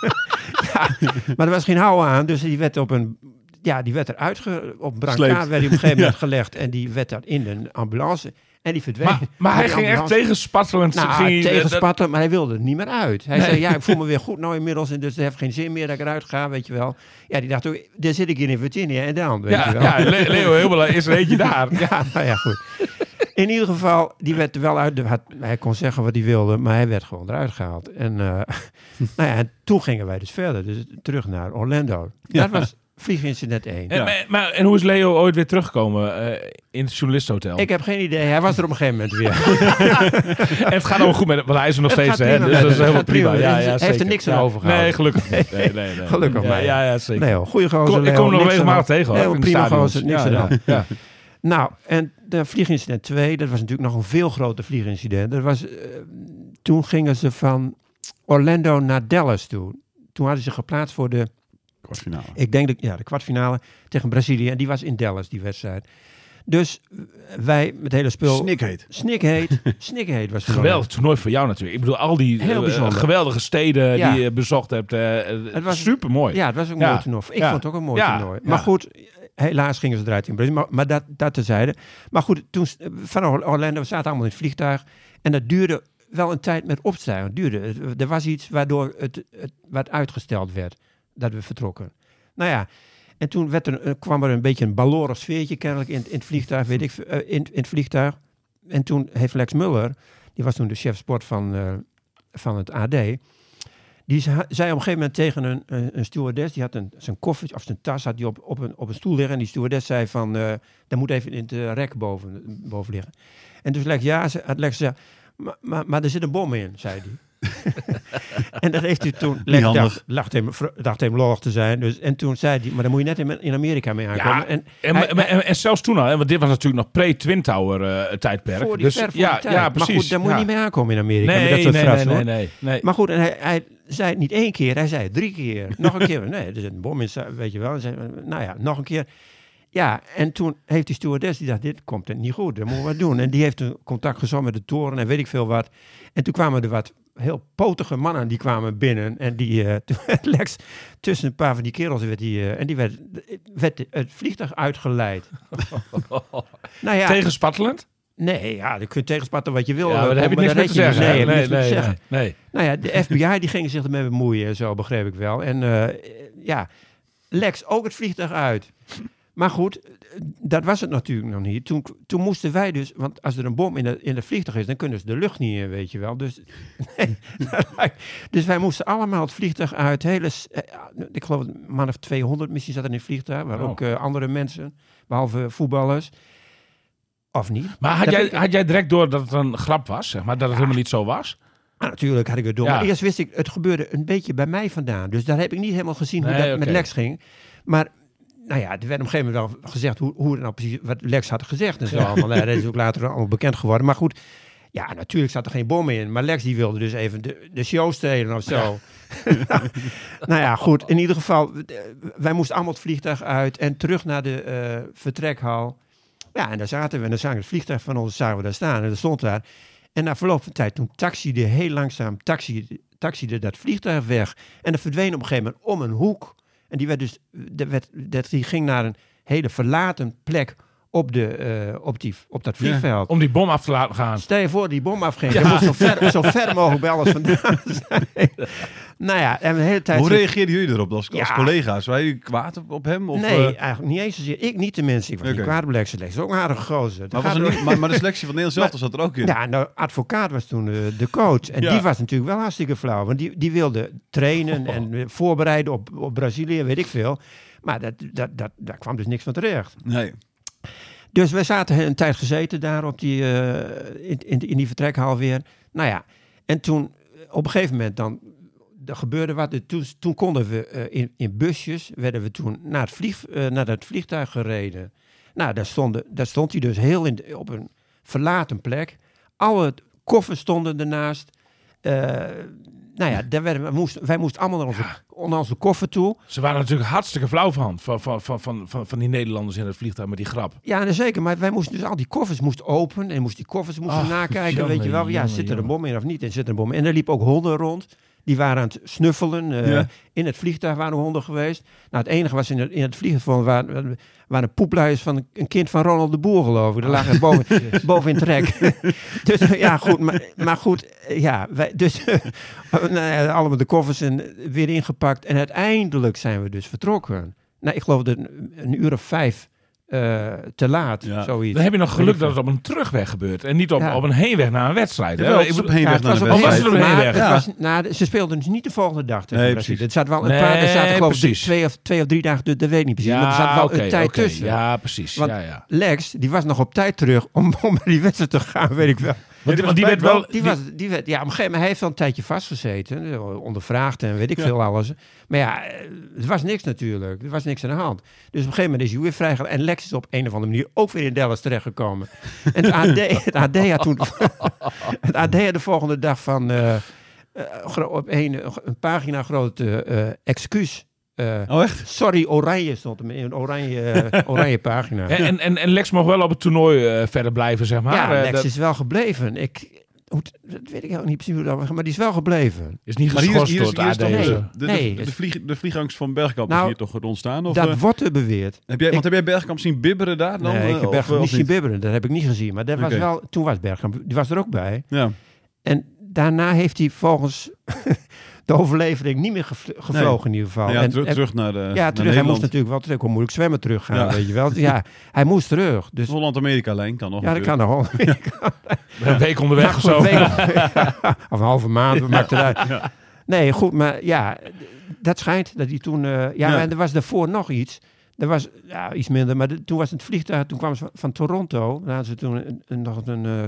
Speaker 4: ja, maar er was geen hou aan, dus die werd op een... Ja, die werd eruit, ge, op een brancard
Speaker 3: Sleept.
Speaker 4: werd die op een gegeven moment gelegd. En die werd daar in een ambulance. En die verdween.
Speaker 5: Maar, maar hij
Speaker 4: Die
Speaker 5: ging echt
Speaker 4: ambulance-
Speaker 5: tegen spattelend. ging
Speaker 4: nou,
Speaker 5: hij- dat-
Speaker 4: tegenspatten, maar hij wilde er niet meer uit. Hij zei, ja, ik voel me weer goed nou inmiddels en dus het heeft geen zin meer dat ik eruit ga, weet je wel. Ja, die dacht ook, daar zit ik hier in Virginia en dan, weet
Speaker 5: ja,
Speaker 4: je wel.
Speaker 5: ja, Le- Leo Heubelen is er eentje daar.
Speaker 4: *laughs* Ja, nou ja, goed. In ieder geval, die werd er wel uit. had- hij kon zeggen wat hij wilde, maar hij werd gewoon eruit *laughs* gehaald. En, eh, nou ja, en toen gingen wij dus verder, dus terug naar Orlando.
Speaker 3: Ja.
Speaker 4: Dat was vliegincident 1.
Speaker 5: En, maar, maar- en hoe is Leo ooit weer teruggekomen eh, in het journalistenhotel?
Speaker 4: Ik heb geen idee. Hij was er op een gegeven moment
Speaker 5: *laughs*
Speaker 4: weer.
Speaker 5: En het gaat allemaal goed met hem, want hij is er nog
Speaker 4: Het
Speaker 5: steeds.
Speaker 4: gaat
Speaker 5: Hè,
Speaker 4: prima
Speaker 5: dus
Speaker 4: met
Speaker 5: dat is
Speaker 4: hem.
Speaker 5: helemaal
Speaker 4: Het gaat
Speaker 5: prima.
Speaker 4: prima.
Speaker 5: Ja,
Speaker 4: Hij
Speaker 5: ja,
Speaker 4: heeft er
Speaker 5: zeker.
Speaker 4: niks aan
Speaker 5: Ja.
Speaker 4: overgehouden.
Speaker 5: Nee, gelukkig niet. Nee, nee, nee.
Speaker 4: Gelukkig
Speaker 5: ja,
Speaker 4: maar.
Speaker 5: Ja, ja, zeker.
Speaker 4: Nee hoor, goede
Speaker 5: Ik
Speaker 4: gozer.
Speaker 5: kom- ik
Speaker 4: Leo,
Speaker 5: kom hem nog
Speaker 4: niks aan de
Speaker 5: regelmatig
Speaker 4: hand.
Speaker 5: tegen. hoor,
Speaker 4: Nee,
Speaker 5: in de
Speaker 4: prima
Speaker 5: stadions.
Speaker 4: gozer, niks
Speaker 5: Ja,
Speaker 4: aan de
Speaker 5: ja,
Speaker 4: hand.
Speaker 5: ja.
Speaker 4: Nou, en de vliegincident 2, dat was natuurlijk nog een veel groter vliegincident. Dat was, eh, toen gingen ze van Orlando naar Dallas toe. Toen hadden ze geplaatst voor de,
Speaker 3: Kwartfinale.
Speaker 4: ik denk de, ja, de kwartfinale tegen Brazilië. En die was in Dallas, die wedstrijd. Dus eh, wij met het hele spul...
Speaker 3: Snikheet.
Speaker 4: Snikheet. Snikheet was toen al.
Speaker 5: Geweldig toernooi voor jou natuurlijk. Ik bedoel, al die
Speaker 4: Heel
Speaker 5: eh,
Speaker 4: bijzonder.
Speaker 5: geweldige steden
Speaker 4: Ja.
Speaker 5: die je bezocht hebt. eh,
Speaker 4: Het
Speaker 5: het
Speaker 4: was-
Speaker 5: was super mooi.
Speaker 4: Ja, het was ook een
Speaker 5: Ja.
Speaker 4: mooi toernooi. Ik
Speaker 5: Ja.
Speaker 4: vond het ook een mooi
Speaker 5: Ja.
Speaker 4: toernooi.
Speaker 5: Ja.
Speaker 4: Maar goed, helaas gingen ze eruit in Brazilië. Maar, maar dat, dat tezijde. Maar goed, toen, s- van Or- Orlando, we zaten allemaal in het vliegtuig. En dat duurde wel een tijd met opstijgen. Het duurde, het- er was iets waardoor het, het, wat uitgesteld werd. Dat we vertrokken. Nou ja, en toen werd er, eh, kwam er een beetje een balorig sfeertje kennelijk in, in het vliegtuig. Weet ik, v- eh, in, in het vliegtuig. En toen heeft Lex Muller, die was toen de chef sport van, eh, van het AD... Die ze- zei op een gegeven moment tegen een, een, een stewardess, die had een, zijn koffertje of zijn tas had die op, op, een, op een stoel liggen. En die stewardess zei van, eh dat moet even in het eh, rek boven, boven liggen. En dus Lex, ja, ze, had Lex gezegd, maar, maar, maar er zit een bom in, zei hij. *laughs* en dat heeft hij toen, Lex
Speaker 3: handig.
Speaker 4: dacht, dacht hem, vro- dacht hem lollig te zijn. Dus, en toen zei hij, maar daar moet je net in, in Amerika mee aankomen.
Speaker 5: Ja,
Speaker 4: en,
Speaker 5: en, en,
Speaker 4: hij-
Speaker 5: en, en zelfs toen al, hè, want dit was natuurlijk nog pre-Twin Tower eh, tijdperk.
Speaker 4: voor die,
Speaker 5: dus,
Speaker 4: ver voor
Speaker 5: ja,
Speaker 4: die tijd.
Speaker 5: ja,
Speaker 4: Maar
Speaker 5: precies.
Speaker 4: goed, daar moet je
Speaker 5: Ja.
Speaker 4: niet mee aankomen in Amerika.
Speaker 5: Nee,
Speaker 4: met dat soort
Speaker 5: nee,
Speaker 4: fratsen,
Speaker 5: nee,
Speaker 4: hoor.
Speaker 5: nee, nee, nee.
Speaker 4: Maar goed, en hij, hij zei het niet één keer, hij zei het drie keer. *laughs* Nog een keer, nee, er zit een bom in, weet je wel. En zei, nou ja, nog een keer. Ja, en toen heeft die stewardess, die dacht, dit komt niet goed, dat moeten we wat doen. En die heeft een contact gezocht met de toren en weet ik veel wat. En toen kwamen er wat heel potige mannen, die kwamen binnen. En die, eh, *laughs* toen Lex, tussen een paar van die kerels, werd die, eh, en die werd, werd het vliegtuig
Speaker 5: *laughs*
Speaker 4: uitgeleid. nou ja,
Speaker 5: Tegen spattelend?
Speaker 4: nee, ja, je kunt tegenspatten wat je wil.
Speaker 5: Ja, maar daar heb je
Speaker 4: maar
Speaker 5: niks
Speaker 4: daar
Speaker 5: meer te
Speaker 4: red je
Speaker 5: zeggen. Nee, nee,
Speaker 4: niet. Nee, heb je niks meer
Speaker 5: nee.
Speaker 4: te zeggen.
Speaker 5: nee, nee.
Speaker 4: Nou ja, de FBI die gingen zich ermee bemoeien en zo, begreep ik wel. En eh, ja, Lex ook het vliegtuig uit. Maar goed, dat was het natuurlijk nog niet. Toen, toen moesten wij dus, want als er een bom in de, in de vliegtuig is, dan kunnen ze de lucht niet in, weet je wel. Dus, *laughs* nee, dus wij moesten allemaal het vliegtuig uit. Hele, s- eh, ik geloof een man of 200 misschien zat er in het vliegtuig, maar
Speaker 5: Oh.
Speaker 4: ook eh, andere mensen, behalve voetballers. Of niet?
Speaker 5: Maar had
Speaker 4: Dat
Speaker 5: jij,
Speaker 4: weet ik-
Speaker 5: had jij direct door dat het een grap was, zeg maar, dat het helemaal niet zo was?
Speaker 4: Ah, natuurlijk had ik het door.
Speaker 5: Ja.
Speaker 4: Maar eerst wist ik, het gebeurde een beetje bij mij vandaan. Dus daar heb ik niet helemaal gezien hoe
Speaker 5: Nee,
Speaker 4: dat
Speaker 5: oké.
Speaker 4: met Lex ging. Maar nou ja, er werd op een gegeven moment wel gezegd hoe, hoe het nou precies, wat Lex had gezegd en zo
Speaker 5: *laughs*
Speaker 4: allemaal. Nou, dat is ook later allemaal bekend geworden. Maar goed, ja, natuurlijk zat er geen bom in. Maar Lex die wilde dus even de, de show stelen of zo. *laughs* nou ja, goed. In ieder geval, eh, wij moesten allemaal het vliegtuig uit en terug naar de eh, vertrekhal. Ja, en daar zaten we en dan zagen we het vliegtuig van ons zagen we daar staan en dat stond daar. En na verloop van tijd, toen taxiede heel langzaam, taxiede, taxiede dat vliegtuig weg. En dat verdween op een gegeven moment om een hoek. En die, werd dus, dat werd, dat, die ging naar een hele verlaten plek op, de, eh, op, die, op dat vliegveld.
Speaker 5: Om die bom af te laten gaan.
Speaker 4: Stel je voor die bom afging. Dat moet zo ver, zo ver mogelijk bij alles
Speaker 3: *laughs*
Speaker 4: vandaan zijn. nou ja, en de hele tijd...
Speaker 3: Hoe reageerden jullie erop als, als
Speaker 4: Ja.
Speaker 3: collega's? Waren jullie kwaad op, op hem? Of,
Speaker 4: nee,
Speaker 3: eh,
Speaker 4: eigenlijk niet eens zozeer. Ik niet de mensen. Ik was niet
Speaker 3: Oké.
Speaker 4: kwaad op Lex. Lex is ook een aardige gozer.
Speaker 3: maar,
Speaker 4: Dat
Speaker 3: was
Speaker 4: gaat
Speaker 3: er
Speaker 4: ook-
Speaker 3: niet, maar, maar de selectie van Nederland
Speaker 4: *laughs*
Speaker 3: zelf zat er ook in.
Speaker 4: Ja, nou, advocaat was toen eh, de coach. En
Speaker 3: Ja.
Speaker 4: die was natuurlijk wel hartstikke flauw. Want die, die wilde trainen en eh, voorbereiden op, op Brazilië, weet ik veel. Maar dat, dat, dat, daar kwam dus niks van terecht.
Speaker 3: Nee.
Speaker 4: Dus we zaten een tijd gezeten daar op die, eh, in, in, in die vertrekhal weer. Nou ja, en toen eh, op een gegeven moment dan er gebeurde wat. Dus Toen, toen konden we eh, in, in busjes, werden we toen naar het, vlieg, eh, naar het vliegtuig gereden. Nou, daar, stonden, daar stond hij dus heel in de- op een verlaten plek. Alle t- koffers stonden ernaast. Eh, nou ja, daar werden, we moesten, wij moesten allemaal naar onze, naar onze koffer toe.
Speaker 5: Ze waren natuurlijk hartstikke flauw van, van, van, van, van, van, van die Nederlanders in het vliegtuig met die grap.
Speaker 4: Ja, nee, zeker. Maar wij moesten dus al die koffers moesten open en moest die koffers moesten
Speaker 5: Ach,
Speaker 4: nakijken.
Speaker 5: jammer,
Speaker 4: weet je wel, ja,
Speaker 5: jammer,
Speaker 4: zit er een
Speaker 5: jammer.
Speaker 4: bom in of niet? En zit er een bom in. En er liepen ook honden rond. Die waren aan het snuffelen. eh,
Speaker 3: Ja.
Speaker 4: In het vliegtuig waren honden geweest. Nou, het enige was in het, in het vliegtuig waren, waren poepluiers van een kind van Ronald de Boer, geloof ik. Daar lagen
Speaker 5: Oh.
Speaker 4: er
Speaker 5: *laughs*
Speaker 4: boven, boven in het rek. dus ja, goed. Maar, maar goed, eh, ja. Wij, dus *laughs* nou ja, allemaal de koffers en eh, weer ingepakt. En uiteindelijk zijn we dus vertrokken. Nou, ik geloof dat een, een uur of vijf eh, te laat,
Speaker 3: Ja.
Speaker 4: zoiets.
Speaker 5: Dan heb je nog geluk dat
Speaker 4: Weet ik
Speaker 5: het op een terugweg gebeurt. En niet op,
Speaker 4: Ja.
Speaker 5: op een heenweg naar een wedstrijd. hè?
Speaker 3: Jawel,
Speaker 5: Ik
Speaker 3: het is op
Speaker 5: bedoel-
Speaker 3: heenweg naar
Speaker 4: was
Speaker 3: de
Speaker 4: op-
Speaker 5: Oh, was
Speaker 3: wedstrijd.
Speaker 5: het er
Speaker 4: Maar
Speaker 5: heenweg?
Speaker 4: het
Speaker 3: Ja.
Speaker 4: was, nou, ze speelden dus niet de volgende dag tegen
Speaker 3: Nee,
Speaker 4: Brazilië.
Speaker 3: precies.
Speaker 4: Het zat wel een paar, er zaten
Speaker 5: Nee,
Speaker 4: geloof ik
Speaker 5: precies.
Speaker 4: twee of, twee of drie dagen, dat dat weet ik niet precies. maar er zat wel
Speaker 5: oké,
Speaker 4: een tijd
Speaker 5: oké.
Speaker 4: tussen.
Speaker 5: Ja, precies.
Speaker 4: Want-
Speaker 5: ja, ja.
Speaker 4: Lex, die was nog op tijd terug om, *laughs* om naar die wedstrijd te gaan, weet ik wel.
Speaker 5: Want, want die werd wel...
Speaker 4: die, was, die werd, ja, op een gegeven moment hij heeft al een tijdje vastgezeten. eh, Ondervraagd en weet ik veel alles. Maar ja, eh, het was niks natuurlijk. Er was niks aan de hand. Dus op een gegeven moment is hij weer vrijgegaan. En Lex is op een of andere manier ook weer in Dallas terechtgekomen. En het AD, het AD had toen... *laughs* het AD had de volgende dag van... eh, eh, gro- op een, een pagina groot eh, eh, excuus. eh,
Speaker 3: Oh, echt?
Speaker 4: Sorry, oranje stond hem in een oranje, eh, oranje
Speaker 3: *laughs*
Speaker 4: pagina.
Speaker 5: En- En, en, en Lex mocht wel op het toernooi eh, verder blijven, zeg maar.
Speaker 4: ja,
Speaker 5: Eh,
Speaker 4: Lex
Speaker 5: dat
Speaker 4: is wel gebleven. Ik, hoe, het- dat weet ik ook niet precies hoe dat was, maar die is wel gebleven.
Speaker 5: is niet
Speaker 3: Maar hier is,
Speaker 5: geschorst
Speaker 3: hier
Speaker 5: door
Speaker 3: is,
Speaker 5: het
Speaker 3: hier
Speaker 5: AD.
Speaker 3: is toch
Speaker 4: Nee.
Speaker 3: de, de,
Speaker 4: Nee.
Speaker 3: de,
Speaker 4: dus-
Speaker 3: de vlieg, de vliegangst van Bergkamp is
Speaker 4: Nou,
Speaker 3: hier toch ontstaan? Of,
Speaker 4: dat
Speaker 3: eh,
Speaker 4: wordt er beweerd.
Speaker 3: heb jij, want
Speaker 4: ik-
Speaker 3: heb jij Bergkamp zien bibberen daar dan?
Speaker 4: nee, ik
Speaker 3: eh,
Speaker 4: heb
Speaker 3: of-
Speaker 4: Bergkamp
Speaker 3: of
Speaker 4: niet zien
Speaker 3: niet?
Speaker 4: bibberen. Dat heb ik niet gezien. Maar dat
Speaker 3: Oké.
Speaker 4: was wel, toen was Bergkamp, die was er ook bij.
Speaker 3: Ja.
Speaker 4: En daarna heeft hij volgens *laughs* de overlevering niet meer gevl- gevlogen in ieder geval.
Speaker 3: Nou ja,
Speaker 4: En-
Speaker 3: teru-
Speaker 4: en-
Speaker 3: terug naar de naar
Speaker 4: ja, terug. Hij moest
Speaker 3: Nederland.
Speaker 4: natuurlijk wel terug. Hoe moeilijk zwemmen terug gaan,
Speaker 3: Ja.
Speaker 4: weet je wel. Ja, hij moest terug. Dus
Speaker 3: Holland-Amerika-lijn kan nog
Speaker 4: ja, dat
Speaker 3: natuurlijk.
Speaker 4: kan nog
Speaker 5: *laughs*
Speaker 4: wel.
Speaker 5: Een week onderweg of zo.
Speaker 4: of een halve maand, we maakt eruit. Nee, goed, maar ja, d- dat schijnt dat hij toen... eh, ja,
Speaker 3: Ja.
Speaker 4: en er was daarvoor nog iets. Er was ja, iets minder, maar de- toen was het vliegtuig... Toen kwamen ze van, van Toronto. Daar hadden ze toen een, een- nog een, eh,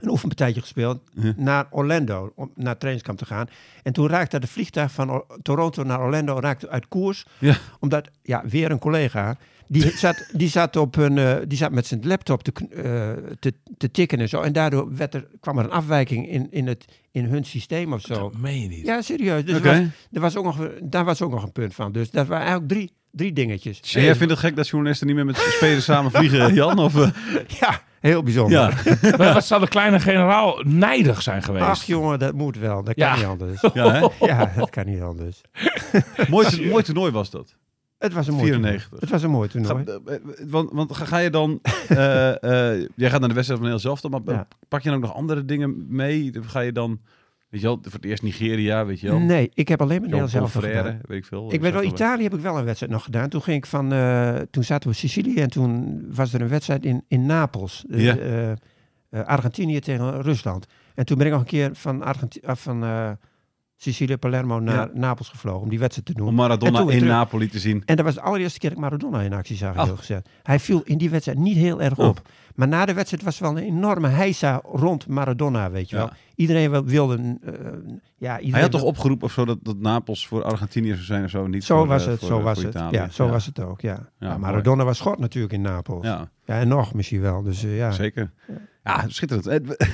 Speaker 4: een oefenpartijtje gespeeld
Speaker 3: Ja.
Speaker 4: naar Orlando, om naar het trainingskamp te gaan. En toen raakte het vliegtuig van O- Toronto naar Orlando raakte uit koers.
Speaker 3: Ja.
Speaker 4: Omdat, ja, weer een collega... *laughs* Die zat, die, zat op een, eh, die zat met zijn laptop te, kn- eh, te, te tikken en zo. En daardoor werd er, kwam er een afwijking in, in, het, in hun systeem of zo.
Speaker 5: Dat *laughs* meen je niet.
Speaker 4: Ja, serieus. Dus er
Speaker 3: Oké.
Speaker 4: was, er was ook nog, daar was ook nog een punt van. Dus dat waren eigenlijk drie, drie dingetjes.
Speaker 3: En jij vindt het gek dat journalisten niet meer met spelers samen
Speaker 4: *laughs*
Speaker 3: vliegen, Jan? Of, eh,
Speaker 4: Ja, heel bijzonder.
Speaker 3: ja.
Speaker 5: Maar Wat zou de kleine generaal nijdig zijn geweest?
Speaker 4: Ach jongen, dat moet wel. Dat kan
Speaker 5: Ja.
Speaker 4: niet *laughs* anders.
Speaker 3: Ja, hè?
Speaker 4: Ja, dat kan niet anders.
Speaker 3: mooi, to- mooi toernooi was dat.
Speaker 4: Het was een mooi toernooi.
Speaker 3: 94.
Speaker 4: Het was een mooi toernooi.
Speaker 3: Ga- eh, eh, want want ga, ga je dan...
Speaker 4: *laughs*
Speaker 3: eh, eh, jij gaat naar de wedstrijd van heel zelf, maar
Speaker 4: Ja.
Speaker 3: pak je dan ook nog andere dingen mee? Ga je dan, weet je wel, voor het eerst Nigeria, weet je wel?
Speaker 4: Nee, ik heb alleen maar
Speaker 3: Johan
Speaker 4: Nederlands zelf
Speaker 3: Confrère,
Speaker 4: gedaan.
Speaker 3: weet ik veel. eh,
Speaker 4: Ik weet wel, Italië heb ik wel een wedstrijd nog gedaan. Toen ging ik van, eh, toen zaten we in Sicilië en toen was er een wedstrijd in, in Napels. Eh,
Speaker 3: Ja.
Speaker 4: eh, eh, Argentinië tegen Rusland. En toen ben ik nog een keer van, Argenti- ah, van eh, Sicilië, Palermo naar
Speaker 3: Ja.
Speaker 4: Napels gevlogen om die wedstrijd te doen.
Speaker 3: Om
Speaker 4: En
Speaker 3: Maradona
Speaker 4: toen
Speaker 3: in
Speaker 4: weer terug.
Speaker 3: Napoli te zien.
Speaker 4: En dat was de allereerste keer dat ik Maradona in actie zag,
Speaker 3: Oh.
Speaker 4: heel gezegd. Hij viel in die wedstrijd niet heel erg
Speaker 3: Oh.
Speaker 4: op. Maar na de wedstrijd was er wel een enorme heisa rond Maradona, weet je
Speaker 3: Ja.
Speaker 4: wel. Iedereen wel- wilde... eh, ja, iedereen
Speaker 3: Hij had toch
Speaker 4: wil-
Speaker 3: opgeroepen of zo dat, dat Napels voor Argentinië zou zijn of zo? Niet
Speaker 4: Zo
Speaker 3: voor, eh,
Speaker 4: was het,
Speaker 3: voor,
Speaker 4: zo
Speaker 3: eh,
Speaker 4: was
Speaker 3: voor
Speaker 4: het.
Speaker 3: Italië.
Speaker 4: Ja, zo was het ook, ja. Maar
Speaker 3: mooi.
Speaker 4: Maradona was schort natuurlijk in Napels. Ja.
Speaker 3: Ja,
Speaker 4: en nog misschien wel. Dus eh, ja.
Speaker 3: zeker. Ja, schitterend. Eh,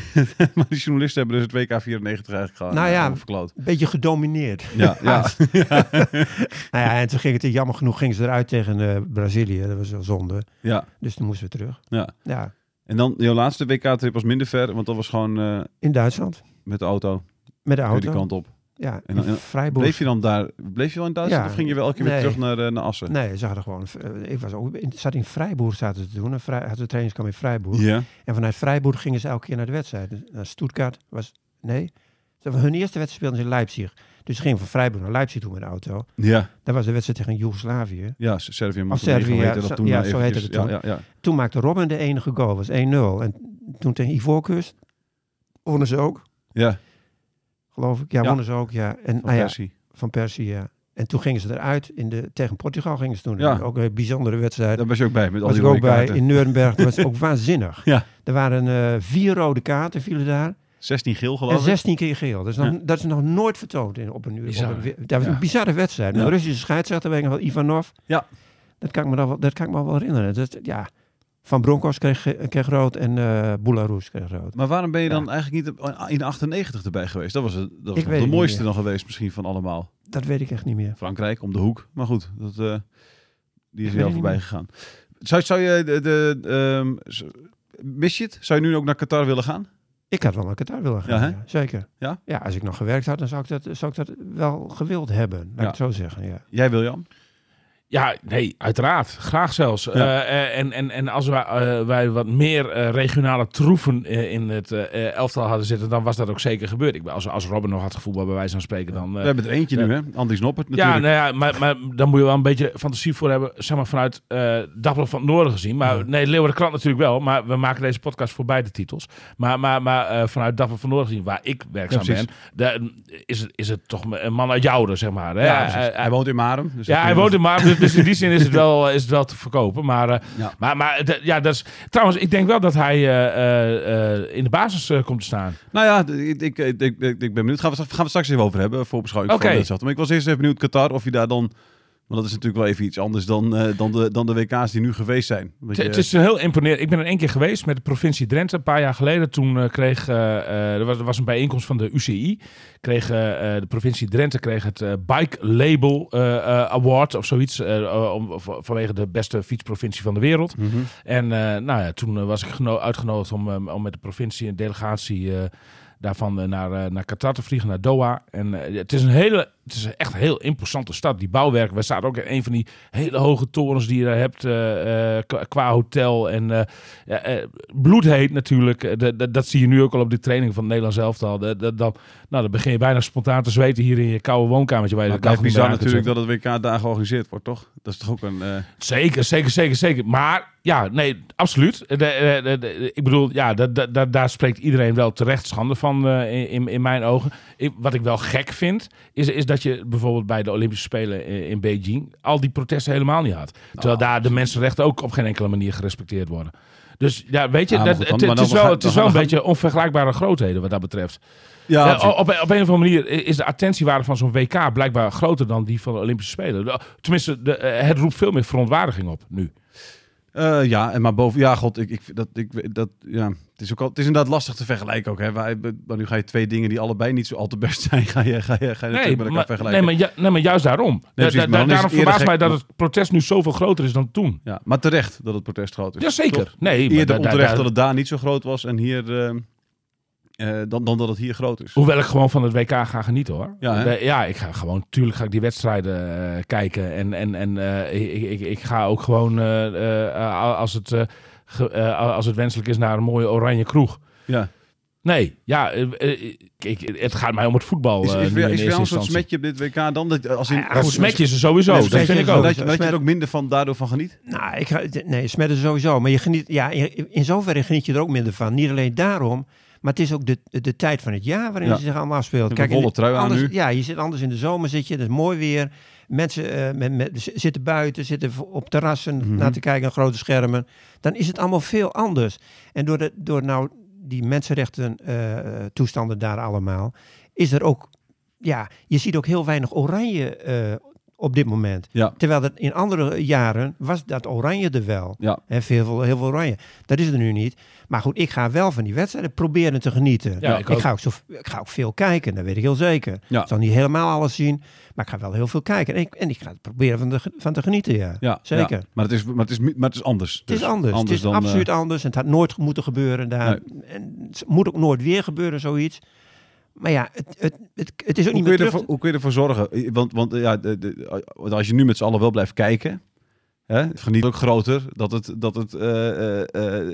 Speaker 3: *laughs* maar die journalisten hebben dus het WK 94 eigenlijk gewoon
Speaker 4: Nou
Speaker 3: eh,
Speaker 4: ja.
Speaker 3: helemaal verkloot.
Speaker 4: Een beetje gedomineerd. *laughs*
Speaker 3: Ja, ja.
Speaker 4: nou ja, en toen ging het, jammer genoeg, ging ze eruit tegen eh, Brazilië. Dat was wel zonde.
Speaker 3: ja,
Speaker 4: Dus toen moesten we terug.
Speaker 3: ja.
Speaker 4: Ja,
Speaker 3: En dan, jouw laatste WK-trip was minder ver, want dat was gewoon eh,
Speaker 4: in Duitsland.
Speaker 3: met de auto,
Speaker 4: Met de
Speaker 3: kun je die
Speaker 4: auto.
Speaker 3: kant op.
Speaker 4: Ja,
Speaker 3: En dan- en
Speaker 4: in
Speaker 3: dan-
Speaker 4: Freiburg.
Speaker 3: Bleef je dan daar, bleef je wel in Duitsland
Speaker 4: Ja.
Speaker 3: of ging je wel elke keer
Speaker 4: Nee.
Speaker 3: weer terug naar, eh, naar Assen?
Speaker 4: Nee, ze hadden gewoon. eh, Ik was ook, in- zat in Freiburg zaten ze te doen. Een vrij, hadden ze trainingskamp in Freiburg.
Speaker 3: Ja,
Speaker 4: En vanuit Freiburg gingen ze elke keer naar de wedstrijd. Dus Naar Stuttgart was. Nee. Ze- Hun eerste wedstrijd speelden ze in Leipzig. Dus ze gingen van Freiburg naar Leipzig toe met de auto.
Speaker 3: ja,
Speaker 4: Dat was de wedstrijd tegen Joegoslavië.
Speaker 3: ja, Servië en
Speaker 4: Of
Speaker 3: Montenegro
Speaker 4: Oh, Servië,
Speaker 3: heette
Speaker 4: ja, zo-
Speaker 3: dat toen.
Speaker 4: ja,
Speaker 3: eh,
Speaker 4: zo heette
Speaker 3: eventjes.
Speaker 4: het toen.
Speaker 3: Ja, ja, ja.
Speaker 4: Toen maakte Robin de enige goal, was 1-0. En toen tegen Ivoorkust wonnen ze ook,
Speaker 3: ja
Speaker 4: geloof ik. Ja,
Speaker 3: Ja.
Speaker 4: wonnen ze ook, ja. En,
Speaker 3: van
Speaker 4: ah ja,
Speaker 3: Persie.
Speaker 4: van Persie, ja. En toen gingen ze eruit in de, tegen Portugal. Gingen ze toen
Speaker 3: Ja.
Speaker 4: ook een bijzondere wedstrijd.
Speaker 3: Daar was je ook bij met al
Speaker 4: was
Speaker 3: die
Speaker 4: ik ook
Speaker 3: rode
Speaker 4: bij
Speaker 3: kaarten.
Speaker 4: in Nuremberg. Dat was
Speaker 3: *laughs*
Speaker 4: ook waanzinnig.
Speaker 3: Ja.
Speaker 4: Er waren eh, vier rode kaarten vielen daar.
Speaker 3: 16 geel
Speaker 4: En
Speaker 3: geloof ik.
Speaker 4: 16 keer geel. Dat is, nog, dat is nog nooit vertoond in, op een uur.
Speaker 5: Bizar.
Speaker 4: op een- dat was
Speaker 3: Ja.
Speaker 4: een bizarre wedstrijd. Een
Speaker 3: Ja.
Speaker 4: Russische scheidsrechter, weet ik nog wel, Ivanov.
Speaker 3: Ja.
Speaker 4: Dat kan ik me, dan wel, dat kan ik me wel herinneren. Dat, ja. Van Broncos kreeg, ge- kreeg rood en eh Boularus kreeg rood.
Speaker 3: Maar waarom ben je dan eigenlijk niet op- in 98 erbij geweest? Dat was, het, dat was
Speaker 4: Ik
Speaker 3: nog
Speaker 4: weet
Speaker 3: de
Speaker 4: het
Speaker 3: mooiste
Speaker 4: niet
Speaker 3: dan geweest misschien van allemaal.
Speaker 4: Dat weet ik echt niet meer.
Speaker 3: Frankrijk om de hoek. Maar goed, dat, eh, die is
Speaker 4: weet
Speaker 3: wel
Speaker 4: het
Speaker 3: voorbij
Speaker 4: niet
Speaker 3: gegaan. Zou, zou je de, de, ehm, z- mis je het? Zou je nu ook naar Qatar willen gaan?
Speaker 4: Ik had wel naar Qatar willen gaan.
Speaker 3: Ja, hè?
Speaker 4: ja. zeker.
Speaker 3: Ja?
Speaker 4: ja, als ik nog gewerkt had, dan zou ik dat, zou ik dat wel gewild hebben. Laat
Speaker 3: Ja.
Speaker 4: ik het zo zeggen. Ja.
Speaker 3: Jij wil Jan?
Speaker 5: Ja, nee, uiteraard. Graag zelfs.
Speaker 3: Ja.
Speaker 5: Eh, eh, en, en, en als wij, eh, wij wat meer eh, regionale troeven eh, in het eh, eh, elftal hadden zitten, dan was dat ook zeker gebeurd. Ik, ben- als, als Robin nog had gevoetbal bij wijze van spreken, dan... eh,
Speaker 3: We hebben er eentje nu, hè? Andries Noppert
Speaker 5: ja,
Speaker 3: natuurlijk.
Speaker 5: nou ja maar, maar dan moet je wel een beetje fantasie voor hebben, zeg maar vanuit eh Dagblad van het Noorden gezien. Maar nee, Leeuwarden Krant natuurlijk wel, maar we maken deze podcast voor beide titels. Maar, maar, maar eh, vanuit Dagblad van het Noorden gezien, waar ik werkzaam
Speaker 3: Ja,
Speaker 5: ben,
Speaker 3: precies.
Speaker 5: daar, is, het, is het toch een man uit Jouwen, zeg maar. hè?
Speaker 3: Ja, precies.
Speaker 5: Eh, eh,
Speaker 3: hij woont in Marem. dus dat
Speaker 5: ja, hij
Speaker 3: kunnen
Speaker 5: woont
Speaker 3: we-
Speaker 5: in Maarten, dus- dus in die zin
Speaker 3: *laughs*
Speaker 5: is het wel, is het wel te verkopen. Maar, eh,
Speaker 3: Ja.
Speaker 5: maar, maar d- ja, dat is, trouwens, ik denk wel dat hij eh, eh, eh, in de basis eh, komt te staan.
Speaker 3: Nou ja, ik, ik, ik, ik, ik ben benieuwd. Gaan we, gaan we het straks even over hebben, voor beschouwing
Speaker 5: Oké.
Speaker 3: van dit Maar ik was eerst even benieuwd, Qatar, of je daar dan... Want dat is natuurlijk wel even iets anders dan, eh, dan, de, dan de WK's die nu geweest zijn.
Speaker 5: Het-
Speaker 3: Want je-
Speaker 5: Het is een heel imponerend. Ik ben er één keer geweest met de provincie Drenthe een paar jaar geleden. Toen eh, kreeg, eh, eh, er, was, er was een bijeenkomst van de UCI. Kreeg, eh, eh, de provincie Drenthe kreeg het eh, Bike Label eh, eh, Award of zoiets. eh, om, v- vanwege de beste fietsprovincie van de wereld.
Speaker 3: Mhm.
Speaker 5: En eh, nou ja, toen eh, was ik geno- uitgenodigd om, eh, om met de provincie en delegatie eh, daarvan eh, naar, eh, naar Qatar te vliegen, naar Doha. En eh, het is een hele, het is echt een heel imposante stad. Die bouwwerken, we staan ook in een van die hele hoge torens die je daar hebt eh, eh, qua- qua hotel. En eh, ja, eh, bloedheet natuurlijk. Eh, dat- dat- dat zie je nu ook al op de training van het Nederlands elftal. Dat, dat, dan, nou, dan begin je bijna spontaan te zweten hier in je koude woonkamertje. Waar je
Speaker 3: Maar
Speaker 5: de
Speaker 3: het
Speaker 5: kachel
Speaker 3: blijft
Speaker 5: niet meer aan
Speaker 3: bizar
Speaker 5: kunt
Speaker 3: natuurlijk
Speaker 5: zetten.
Speaker 3: dat het WK daar georganiseerd wordt, toch? Dat is toch ook een... eh,
Speaker 5: Zeker, zeker, zeker, zeker. Maar ja, nee, absoluut. De- de- de- de- ik bedoel, ja, da- da- da- daar spreekt iedereen wel terecht schande van eh, in, in mijn ogen. Ik- wat ik wel gek vind, is, is dat je bijvoorbeeld bij de Olympische Spelen in, in Beijing al die protesten helemaal niet had. Terwijl
Speaker 3: Oh,
Speaker 5: daar de mensenrechten ook op geen enkele manier gerespecteerd worden. Dus ja, weet je,
Speaker 3: Ja, Ah, maar
Speaker 5: dat,
Speaker 3: goed, dan-
Speaker 5: het, het
Speaker 3: maar dan
Speaker 5: is wel,
Speaker 3: gaan-
Speaker 5: het is
Speaker 3: dan
Speaker 5: wel een
Speaker 3: gaan-
Speaker 5: beetje onvergelijkbare grootheden wat dat betreft.
Speaker 3: ja,
Speaker 5: Ja,
Speaker 3: absoluut.
Speaker 5: op, op een of andere manier is de attentiewaarde van zo'n WK blijkbaar groter dan die van de Olympische Spelen. De- Tenminste, de, eh, het roept veel meer verontwaardiging op nu.
Speaker 3: Eh, ja, en maar boven... Ja, god, ik, ik, dat, ik, dat, ja, het, is ook al, het is inderdaad lastig te vergelijken ook. Hè? Wij- Maar nu ga je twee dingen die allebei niet zo al te best *laughs* zijn, ga je, ga je, ga je natuurlijk met elkaar
Speaker 5: maar,
Speaker 3: vergelijken.
Speaker 5: nee, maar, ju- nee, maar juist daarom. Da-
Speaker 3: precies,
Speaker 5: da-
Speaker 3: maar
Speaker 5: da-
Speaker 3: dan is
Speaker 5: daarom
Speaker 3: het eerder
Speaker 5: verbaast mij
Speaker 3: gek-
Speaker 5: dat het protest nu zoveel groter is dan toen.
Speaker 3: Ja, maar terecht dat het protest groot is.
Speaker 5: Jazeker.
Speaker 3: Toch?
Speaker 5: Nee, maar
Speaker 3: Eerder
Speaker 5: da- da-
Speaker 3: onterecht
Speaker 5: da-
Speaker 3: dat het daar niet zo groot was en hier, eh, eh, dan, dan dat het hier groot is.
Speaker 5: Hoewel ik gewoon van het WK ga genieten hoor.
Speaker 3: Ja, hè?
Speaker 5: Da- ja ik ga gewoon, tuurlijk ga ik die wedstrijden eh, kijken. En, en, en eh, ik, ik, ik- ik ga ook gewoon, eh, eh, als, het, eh, ge- eh, als het wenselijk is, naar een mooie oranje kroeg.
Speaker 3: Ja.
Speaker 5: Nee, ja, eh, eh, ik, het gaat mij om het voetbal.
Speaker 3: Is,
Speaker 5: eh, nu
Speaker 3: is,
Speaker 5: in
Speaker 3: weer, is weer
Speaker 5: eerste
Speaker 3: een soort
Speaker 5: instantie.
Speaker 3: smetje op dit WK dan? Dat, als in,
Speaker 4: Ah, ja,
Speaker 5: Ja,
Speaker 3: goed,
Speaker 4: goed,
Speaker 5: smetje is er sowieso,
Speaker 4: Nee,
Speaker 5: dat
Speaker 4: smetje
Speaker 5: vind ik
Speaker 4: is
Speaker 5: ook.
Speaker 4: wel-
Speaker 3: dat, je, dat je er ook minder van, daardoor van geniet?
Speaker 4: Nou, ik ga, d- nee, smetten sowieso. Maar je geniet, ja, in, in zoverre geniet je er ook minder van. Niet alleen daarom, maar het is ook de, de tijd van het jaar waarin
Speaker 3: Ja.
Speaker 4: het zich allemaal afspeelt.
Speaker 3: Ik heb een
Speaker 4: in de-
Speaker 3: wollen trui aan
Speaker 4: anders-
Speaker 3: nu.
Speaker 4: Ja, je zit anders in de zomer, zit je, dat is mooi weer. Mensen eh, met, met, z- zitten buiten, zitten v- op terrassen
Speaker 3: Mhm.
Speaker 4: naar te kijken, naar grote schermen. Dan is het allemaal veel anders. En door, de, door nou die mensenrechten eh, toestanden daar allemaal, is er ook, ja, je ziet ook heel weinig oranje eh, op dit moment.
Speaker 3: Ja.
Speaker 4: Terwijl dat in andere jaren was dat oranje er wel.
Speaker 3: Ja.
Speaker 4: Hè, veel, veel, heel veel oranje. Dat is er nu niet. Maar goed, ik ga wel van die wedstrijden proberen te genieten.
Speaker 5: Ja, ik
Speaker 4: ik,
Speaker 5: ook.
Speaker 4: ga ook zo, ik ga ook veel kijken, dat weet ik heel zeker.
Speaker 3: Ja.
Speaker 4: Ik zal niet helemaal alles zien, maar ik ga wel heel veel kijken. En ik, en ik ga het proberen van, de, ge- van te genieten, ja.
Speaker 3: Ja,
Speaker 4: zeker.
Speaker 3: ja. Maar, het is, maar, het is, mi- maar het is anders.
Speaker 4: Het is anders. het is
Speaker 3: dan, eh,
Speaker 4: absoluut anders. En het had nooit moeten gebeuren daar. En het moet ook nooit weer gebeuren, zoiets. Maar ja, het, het, het, het is
Speaker 3: hoe,
Speaker 4: ook niet
Speaker 3: kun
Speaker 4: meer
Speaker 3: je
Speaker 4: terug.
Speaker 3: ervoor, hoe kun je ervoor zorgen? Eh, Want, want eh, ja, de- de- als je nu met z'n allen wel blijft kijken... Hè, het geniet ook groter dat het, dat het eh, eh, eh,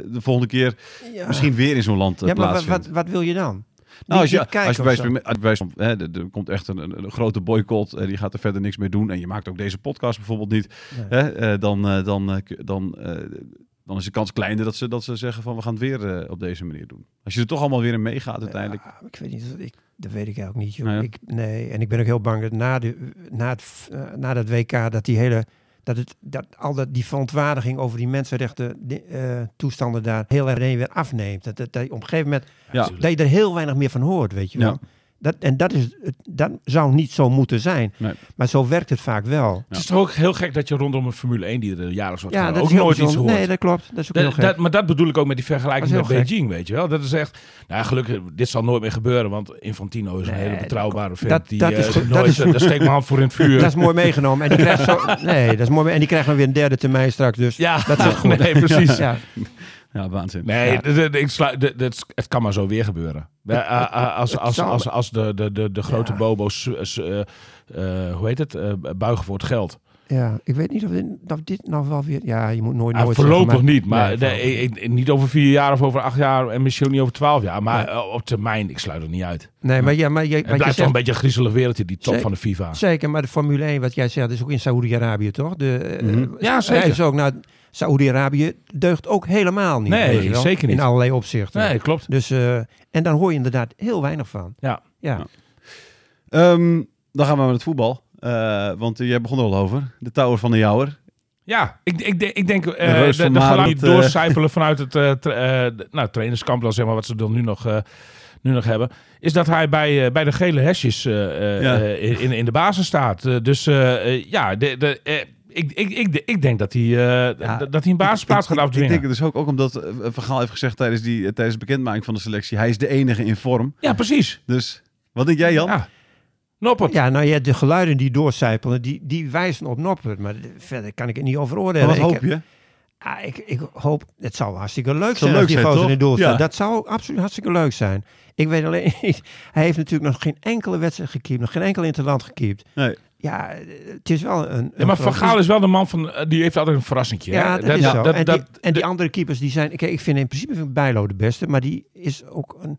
Speaker 3: de volgende keer
Speaker 4: Ja.
Speaker 3: misschien weer in zo'n land eh,
Speaker 4: Ja, maar wat,
Speaker 3: plaatsvindt.
Speaker 4: wat, wat wil je dan?
Speaker 3: Nou, als je,
Speaker 4: niet kijken
Speaker 3: als je
Speaker 4: of
Speaker 3: bij
Speaker 4: zo.
Speaker 3: wijze- bij wijze van- hè, er er komt echt een, een, een grote boycott, eh, die gaat er verder niks mee doen. En je maakt ook deze podcast bijvoorbeeld niet.
Speaker 4: Nee.
Speaker 3: Hè, eh, dan, eh, dan, eh, k- dan, eh, dan is de kans kleiner dat ze, dat ze zeggen van we gaan het weer eh, op deze manier doen. Als je er toch allemaal weer in meegaat uiteindelijk.
Speaker 4: Ja, Ah, ik weet niet, dat, ik, dat weet ik eigenlijk niet. Joh.
Speaker 3: Nou ja.
Speaker 4: ik, nee, en ik ben ook heel bang dat na, de, na, het, f- eh, na dat WK dat die hele dat het dat al dat die verontwaardiging over die mensenrechten di- eh, toestanden daar heel erg ineens weer afneemt. Dat, dat, dat je op een gegeven moment
Speaker 3: Ja,
Speaker 4: dat je er heel weinig meer van hoort, weet je wel.
Speaker 3: Ja.
Speaker 4: Dat, en dat, is, het- dat zou niet zo moeten zijn.
Speaker 3: Nee.
Speaker 4: Maar zo werkt het vaak wel.
Speaker 5: Het is toch ook heel gek dat je rondom een Formule 1 die er jaarlijks wordt gehouden,
Speaker 4: dat
Speaker 5: ook
Speaker 4: is heel
Speaker 5: nooit iets
Speaker 4: bijzonder.
Speaker 5: hoort.
Speaker 4: Nee, dat klopt. Dat is ook heel
Speaker 5: Dat,
Speaker 4: gek.
Speaker 5: dat, maar dat bedoel ik ook met die vergelijking
Speaker 4: Dat
Speaker 5: met
Speaker 4: is heel gek.
Speaker 5: Beijing, weet je wel. Dat is echt, nou ja, gelukkig, dit zal nooit meer gebeuren, want Infantino is een hele betrouwbare vent.
Speaker 4: dat-
Speaker 5: die,
Speaker 4: dat
Speaker 5: eh,
Speaker 4: is goed,
Speaker 5: nooit,
Speaker 4: dat is-
Speaker 5: eh, daar steek mijn hand voor in het vuur.
Speaker 4: Dat is mooi meegenomen. En die krijgt, *laughs* zo, nee, dat is mooi, mee- en die krijgt dan weer een derde termijn straks. Dus
Speaker 5: ja,
Speaker 4: dat is ook goed.
Speaker 5: *laughs* nee, precies.
Speaker 4: Ja.
Speaker 3: ja waanzin.
Speaker 5: Nee,
Speaker 3: Ja.
Speaker 5: d- d- d- ik sluit- d- d- het- het kan maar zo weer gebeuren. Eh, eh, eh, Als, als,
Speaker 4: zou-
Speaker 5: als, als de, de, de, de grote bobo's, eh, eh, eh, hoe heet het, eh, buigen voor het geld.
Speaker 4: Ja, ik weet niet of dit, of dit nou wel weer... Ja, je moet nooit...
Speaker 5: Ah,
Speaker 4: nooit
Speaker 5: voorlopig
Speaker 4: zeggen,
Speaker 5: niet, maar
Speaker 4: Nee,
Speaker 5: nee,
Speaker 4: voorlopig
Speaker 5: ik- ik- niet over vier jaar of over acht jaar en misschien ook niet over twaalf jaar. Maar eh, op termijn, ik sluit het niet uit.
Speaker 4: Nee, maar, ja, maar je,
Speaker 5: Het
Speaker 4: wat je
Speaker 5: blijft toch een
Speaker 4: zegt,
Speaker 5: beetje een griezelig wereldje, die top
Speaker 4: Zeker.
Speaker 5: van de FIFA.
Speaker 4: zeker, maar de Formule 1, wat jij zegt, is ook in Saoedi-Arabië, toch? De, eh,
Speaker 5: Mhm. Ja, zeker.
Speaker 4: rijden ze ook naar Saoedi-Arabië deugt ook helemaal niet.
Speaker 5: Nee,
Speaker 4: weet je wel,
Speaker 5: zeker niet.
Speaker 4: In allerlei opzichten.
Speaker 5: Nee, klopt.
Speaker 4: Dus, eh, en dan hoor je inderdaad heel weinig van.
Speaker 5: Ja.
Speaker 4: Ja,
Speaker 3: Ja. Ehm, dan gaan we naar het voetbal. Eh, want eh, jij begon er al over. De Tower van de Jouwer.
Speaker 5: Ja, ik, ik, denk- ik denk eh,
Speaker 3: Reus
Speaker 5: de,
Speaker 3: van
Speaker 5: de
Speaker 3: Maan,
Speaker 5: geluiden
Speaker 3: dat, eh,
Speaker 5: doorcijpelen vanuit het eh, tra- eh, de- nou, trainerskamp, dan zeg maar, wat ze dan nu nog, eh, nu nog hebben. Is dat hij bij, eh, bij de gele hesjes eh, eh,
Speaker 3: Ja.
Speaker 5: eh, in, in de basis staat. Eh, dus eh, eh, ja, de, de, eh, ik, ik, ik, ik denk dat hij, eh,
Speaker 4: Ja,
Speaker 5: dat- dat hij een basisplaats gaat
Speaker 3: Ik- Ik, ik
Speaker 5: afdwingen.
Speaker 3: denk het dus ook, ook omdat eh, Van Gaal heeft gezegd tijdens, die, eh, tijdens de bekendmaking van de selectie... hij is de enige in vorm.
Speaker 5: Ja, precies.
Speaker 3: Dus wat denk jij Jan?
Speaker 5: Ja. Noppert.
Speaker 4: ja nou ja, de geluiden die doorcijpelen, die, die wijzen op Noppert. Maar verder kan ik het niet over
Speaker 3: Maar
Speaker 4: oordelen.
Speaker 3: wat
Speaker 4: Ik
Speaker 3: hoop
Speaker 4: heb-
Speaker 3: je?
Speaker 4: Ah, ik, ik hoop, het zou hartstikke leuk
Speaker 3: Zou
Speaker 4: zijn
Speaker 3: leuk
Speaker 4: als die
Speaker 3: zijn,
Speaker 4: gozer
Speaker 3: toch?
Speaker 4: in het doel
Speaker 3: Ja.
Speaker 4: staat. Dat zou absoluut hartstikke leuk zijn. Ik weet alleen *laughs* niet, hij heeft natuurlijk nog geen enkele wedstrijd gekiept, nog geen enkel interland gekiept.
Speaker 3: Nee.
Speaker 4: Ja, het is wel een... een
Speaker 5: Ja, maar Van
Speaker 4: groot-
Speaker 5: Gaal is wel de man van, eh, die heeft altijd een verrassingje. hè?
Speaker 4: Ja, dat, is zo. en,
Speaker 5: dat-
Speaker 4: die, en die andere keepers, die zijn... Kijk, ik vind in principe vind ik Bijlo de beste, maar die is ook een...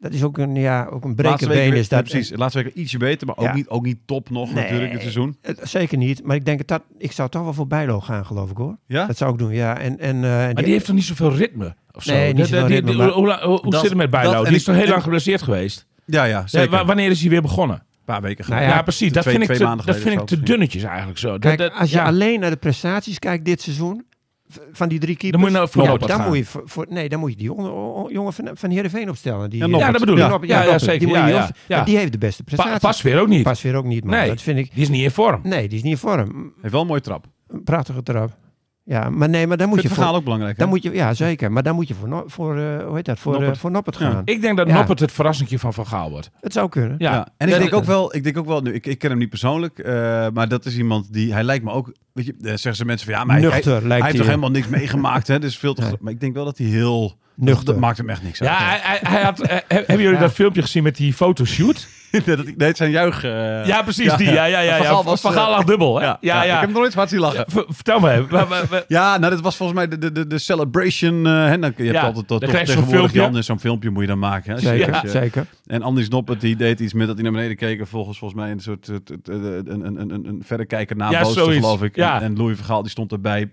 Speaker 4: Dat is ook een, ja, ook een
Speaker 3: Laatste week,
Speaker 4: brekenbeen.
Speaker 3: weer-
Speaker 4: Is dat,
Speaker 3: ja, precies. Laatste week ietsje beter, maar ook,
Speaker 4: Ja.
Speaker 3: niet, ook niet top nog
Speaker 4: Nee.
Speaker 3: natuurlijk dit seizoen.
Speaker 4: Eh, zeker niet, maar ik denk dat ik zou toch wel voor Bijlo gaan, geloof ik hoor.
Speaker 3: Ja?
Speaker 4: Dat zou ik doen, ja. En, en, eh, en
Speaker 5: Maar die heeft toch niet zoveel ritme? Of zo?
Speaker 4: Nee, niet
Speaker 5: Dat-
Speaker 4: zoveel
Speaker 5: die-
Speaker 4: ritme,
Speaker 5: die-
Speaker 4: maar-
Speaker 5: hoe la- hoe hoe
Speaker 3: Dat-
Speaker 5: zit het met Bijlo?
Speaker 3: dat- en
Speaker 5: Die is
Speaker 3: ik-
Speaker 5: toch heel
Speaker 3: en-
Speaker 5: lang geblesseerd geweest?
Speaker 3: Ja, ja, zeker.
Speaker 5: Ja, Eh, wa- wanneer is hij weer begonnen?
Speaker 3: Een paar weken geleden.
Speaker 4: Nou
Speaker 5: ja,
Speaker 4: ja,
Speaker 5: precies.
Speaker 3: twee-
Speaker 5: Dat vind,
Speaker 3: twee
Speaker 5: ik te,
Speaker 3: maanden
Speaker 5: dat vind ik
Speaker 3: geleden
Speaker 5: te
Speaker 3: of zo.
Speaker 5: dunnetjes eigenlijk zo. Dat-
Speaker 4: Kijk,
Speaker 5: dat-
Speaker 4: als je
Speaker 5: ja.
Speaker 4: alleen naar de prestaties kijkt dit seizoen, v- van die drie keepers...
Speaker 5: moet je nou voor
Speaker 4: ja,
Speaker 5: Noppert
Speaker 4: dan
Speaker 5: gaan.
Speaker 4: moet je voor, voor- Nee, dan moet je die jongen, o- jongen van, van Heerenveen opstellen. Die,
Speaker 3: Ja,
Speaker 4: eh,
Speaker 3: Noppert.
Speaker 5: Ja, dat bedoel ik.
Speaker 3: Ja,
Speaker 5: Ja,
Speaker 4: Noppert,
Speaker 5: ja,
Speaker 4: Noppert. Die
Speaker 5: zeker.
Speaker 4: moet je
Speaker 5: Ja,
Speaker 4: niet
Speaker 5: ja,
Speaker 4: opstellen.
Speaker 5: ja.
Speaker 4: Want Die heeft de beste
Speaker 5: Pa-
Speaker 4: prestaties.
Speaker 5: Pas weer ook niet.
Speaker 4: Pas weer ook niet, man.
Speaker 5: Nee.
Speaker 4: Dat vind ik...
Speaker 5: Die is niet in vorm.
Speaker 4: Nee, die is niet in vorm.
Speaker 3: Heeft wel een mooie trap.
Speaker 4: Een prachtige trap. Ja, maar nee, maar dan moet
Speaker 3: Vind je
Speaker 4: je
Speaker 3: verhaal
Speaker 4: voor...
Speaker 3: ook belangrijk, hè?
Speaker 4: Dan moet je, ja, zeker. Maar dan moet je voor, No- voor eh, hoe heet dat, voor,
Speaker 3: Noppert.
Speaker 4: eh, voor Noppert
Speaker 3: Ja.
Speaker 4: gaan.
Speaker 5: Ik denk dat
Speaker 4: Ja.
Speaker 5: Noppert het verrassingje van Van Gaal wordt.
Speaker 4: Het zou kunnen.
Speaker 5: Ja.
Speaker 3: Ja, en ik
Speaker 5: Dat-
Speaker 3: denk ook wel, ik denk ook wel, nu, ik, ik ken hem niet persoonlijk, eh, maar dat is iemand die, hij lijkt me ook, weet je, eh, zeggen ze mensen van ja, maar hij, hij,
Speaker 4: Nuchter lijkt
Speaker 3: hij heeft
Speaker 4: hij,
Speaker 3: toch
Speaker 4: hè?
Speaker 3: helemaal niks meegemaakt, hè? Dus
Speaker 4: *laughs*
Speaker 3: veel te,
Speaker 4: Nee.
Speaker 3: gro- maar ik denk wel dat hij heel
Speaker 4: Nuchter.
Speaker 3: Dat maakt hem echt niks uit.
Speaker 5: Ja, hij, hij, hij had, eh, he- hebben jullie
Speaker 4: Ja.
Speaker 5: dat filmpmpje gezien met die fotoshoot?
Speaker 3: *laughs* nee, dat, nee, het zijn juich. eh,
Speaker 5: Ja, precies. Die. Ja, ja, ja.
Speaker 3: Van Gaal
Speaker 5: ja.
Speaker 3: was,
Speaker 5: Van
Speaker 3: eh,
Speaker 5: Gaal lag dubbel. hè? Ja, ja.
Speaker 3: Ik heb hem nog nooit wat zien lachen.
Speaker 5: Ver- Vertel me. wa- wa- wa-
Speaker 3: Ja, nou, dat was volgens mij de, de, de, de celebration. eh hè, dan, je hebt
Speaker 5: Ja,
Speaker 3: altijd dat
Speaker 5: dan
Speaker 3: toch
Speaker 5: krijg je zo'n
Speaker 3: tegenwoordig
Speaker 5: filmpje.
Speaker 3: Jan is zo'n filmpje moet je dan maken. Hè? Als je-
Speaker 4: Zeker,
Speaker 3: als je-
Speaker 4: zeker.
Speaker 3: En Andy Snoppert die deed iets met dat hij naar beneden keek. en Volgens, volgens mij een soort eh, t- t- eh, een, een, een, een verrekijker
Speaker 5: Ja,
Speaker 3: nabootste,
Speaker 5: zoiets.
Speaker 3: geloof ik.
Speaker 5: Ja.
Speaker 3: En, en Louis Vergaal die stond erbij.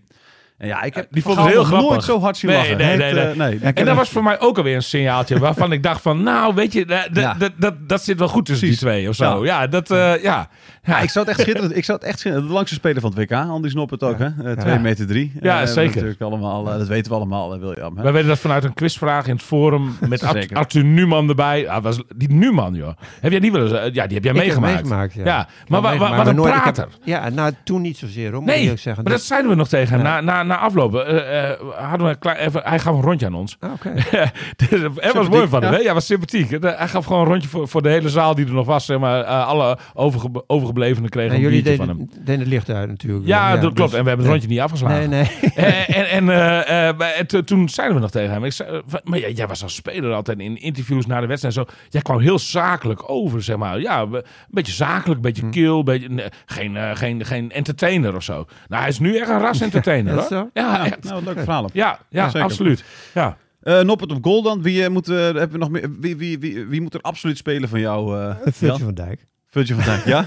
Speaker 3: En ja, ik heb
Speaker 5: Die
Speaker 3: Van
Speaker 5: vond het
Speaker 3: Gaal
Speaker 5: heel
Speaker 3: nog nooit
Speaker 5: grappig.
Speaker 3: zo hard zien
Speaker 5: Nee,
Speaker 3: lachen.
Speaker 5: nee,
Speaker 3: Hij
Speaker 5: nee,
Speaker 3: heeft, eh, nee.
Speaker 5: En dat was voor mij ook alweer een signaaltje waarvan ik dacht van, nou weet je, da- da-
Speaker 3: Ja.
Speaker 5: da- da- dat zit wel goed tussen
Speaker 3: Precies.
Speaker 5: die twee of zo. Ja, dat, eh, ja.
Speaker 3: Ja,
Speaker 5: Ja,
Speaker 3: ik zou het echt schitterend. Ik zou het echt schitterend. De langste speler van het WK, Andy Snoppert ook, hè? 2
Speaker 5: Ja.
Speaker 3: meter 3.
Speaker 5: Ja, zeker.
Speaker 3: Natuurlijk allemaal, eh, dat weten we allemaal, hè, William. Hè?
Speaker 5: Wij weten dat vanuit een quizvraag in het forum met Ar-
Speaker 3: Zeker.
Speaker 5: Arthur Numan erbij. Ah, was, die Numan, joh. Heb jij die wel eens, eh, ja, die heb jij
Speaker 4: Ik heb
Speaker 5: meegemaakt.
Speaker 4: meegemaakt, ja.
Speaker 5: ja.
Speaker 4: Ik
Speaker 5: Maar
Speaker 4: heb
Speaker 5: wa- wa-
Speaker 4: meegemaakt,
Speaker 5: wat
Speaker 4: maar
Speaker 5: een
Speaker 4: nooit- ik
Speaker 5: prater.
Speaker 4: heb- Ja, nou toen niet zozeer hoor, moet ik
Speaker 5: Nee,
Speaker 4: eerlijk zeggen.
Speaker 5: maar dat
Speaker 4: Dus-
Speaker 5: zeiden we nog tegen hem.
Speaker 4: Ja.
Speaker 5: Na, na, na aflopen eh, eh, hadden we een klein, even, hij gaf een rondje aan ons.
Speaker 4: Ah, Oké.
Speaker 5: *laughs* dus, er was mooi van hem, hè? Ja, was sympathiek. Eh, Hij gaf gewoon een rondje voor, voor de hele zaal die er nog was. Zeg maar, Eh, alle overge- overgeblevenen kregen
Speaker 4: En
Speaker 5: een
Speaker 4: jullie
Speaker 5: biertje van hem.
Speaker 4: deden, deden het licht uit natuurlijk.
Speaker 5: Ja, dat klopt.
Speaker 4: dus-
Speaker 5: En we hebben het rondje niet afgeslagen.
Speaker 4: Nee,
Speaker 3: *laughs*
Speaker 4: nee.
Speaker 5: Eh, en en eh, eh, maar het- toen zeiden we nog tegen hem. Ik zei, eh, van, maar jij, jij was als speler altijd in interviews na de wedstrijd en zo. Jij kwam heel zakelijk over, zeg maar. Ja, we- een beetje zakelijk, een beetje kil. Beetje, nee, geen, eh, geen, geen entertainer of zo. Nou, hij is nu echt een ras entertainer.
Speaker 4: Ja, is
Speaker 5: hoor.
Speaker 4: zo?
Speaker 5: Ja,
Speaker 3: Ja,
Speaker 5: echt.
Speaker 3: nou, leuk verhaal.
Speaker 5: ja, ja,
Speaker 3: zeker.
Speaker 5: absoluut. Ja.
Speaker 3: Eh Noppert op goal dan. Wie, eh, moet, eh, hebben we nog meer, wie, wie, wie, wie moet er absoluut spelen van jou, eh
Speaker 4: Virgil
Speaker 3: Jan?
Speaker 4: van Dijk.
Speaker 3: Virgil van Dijk, ja?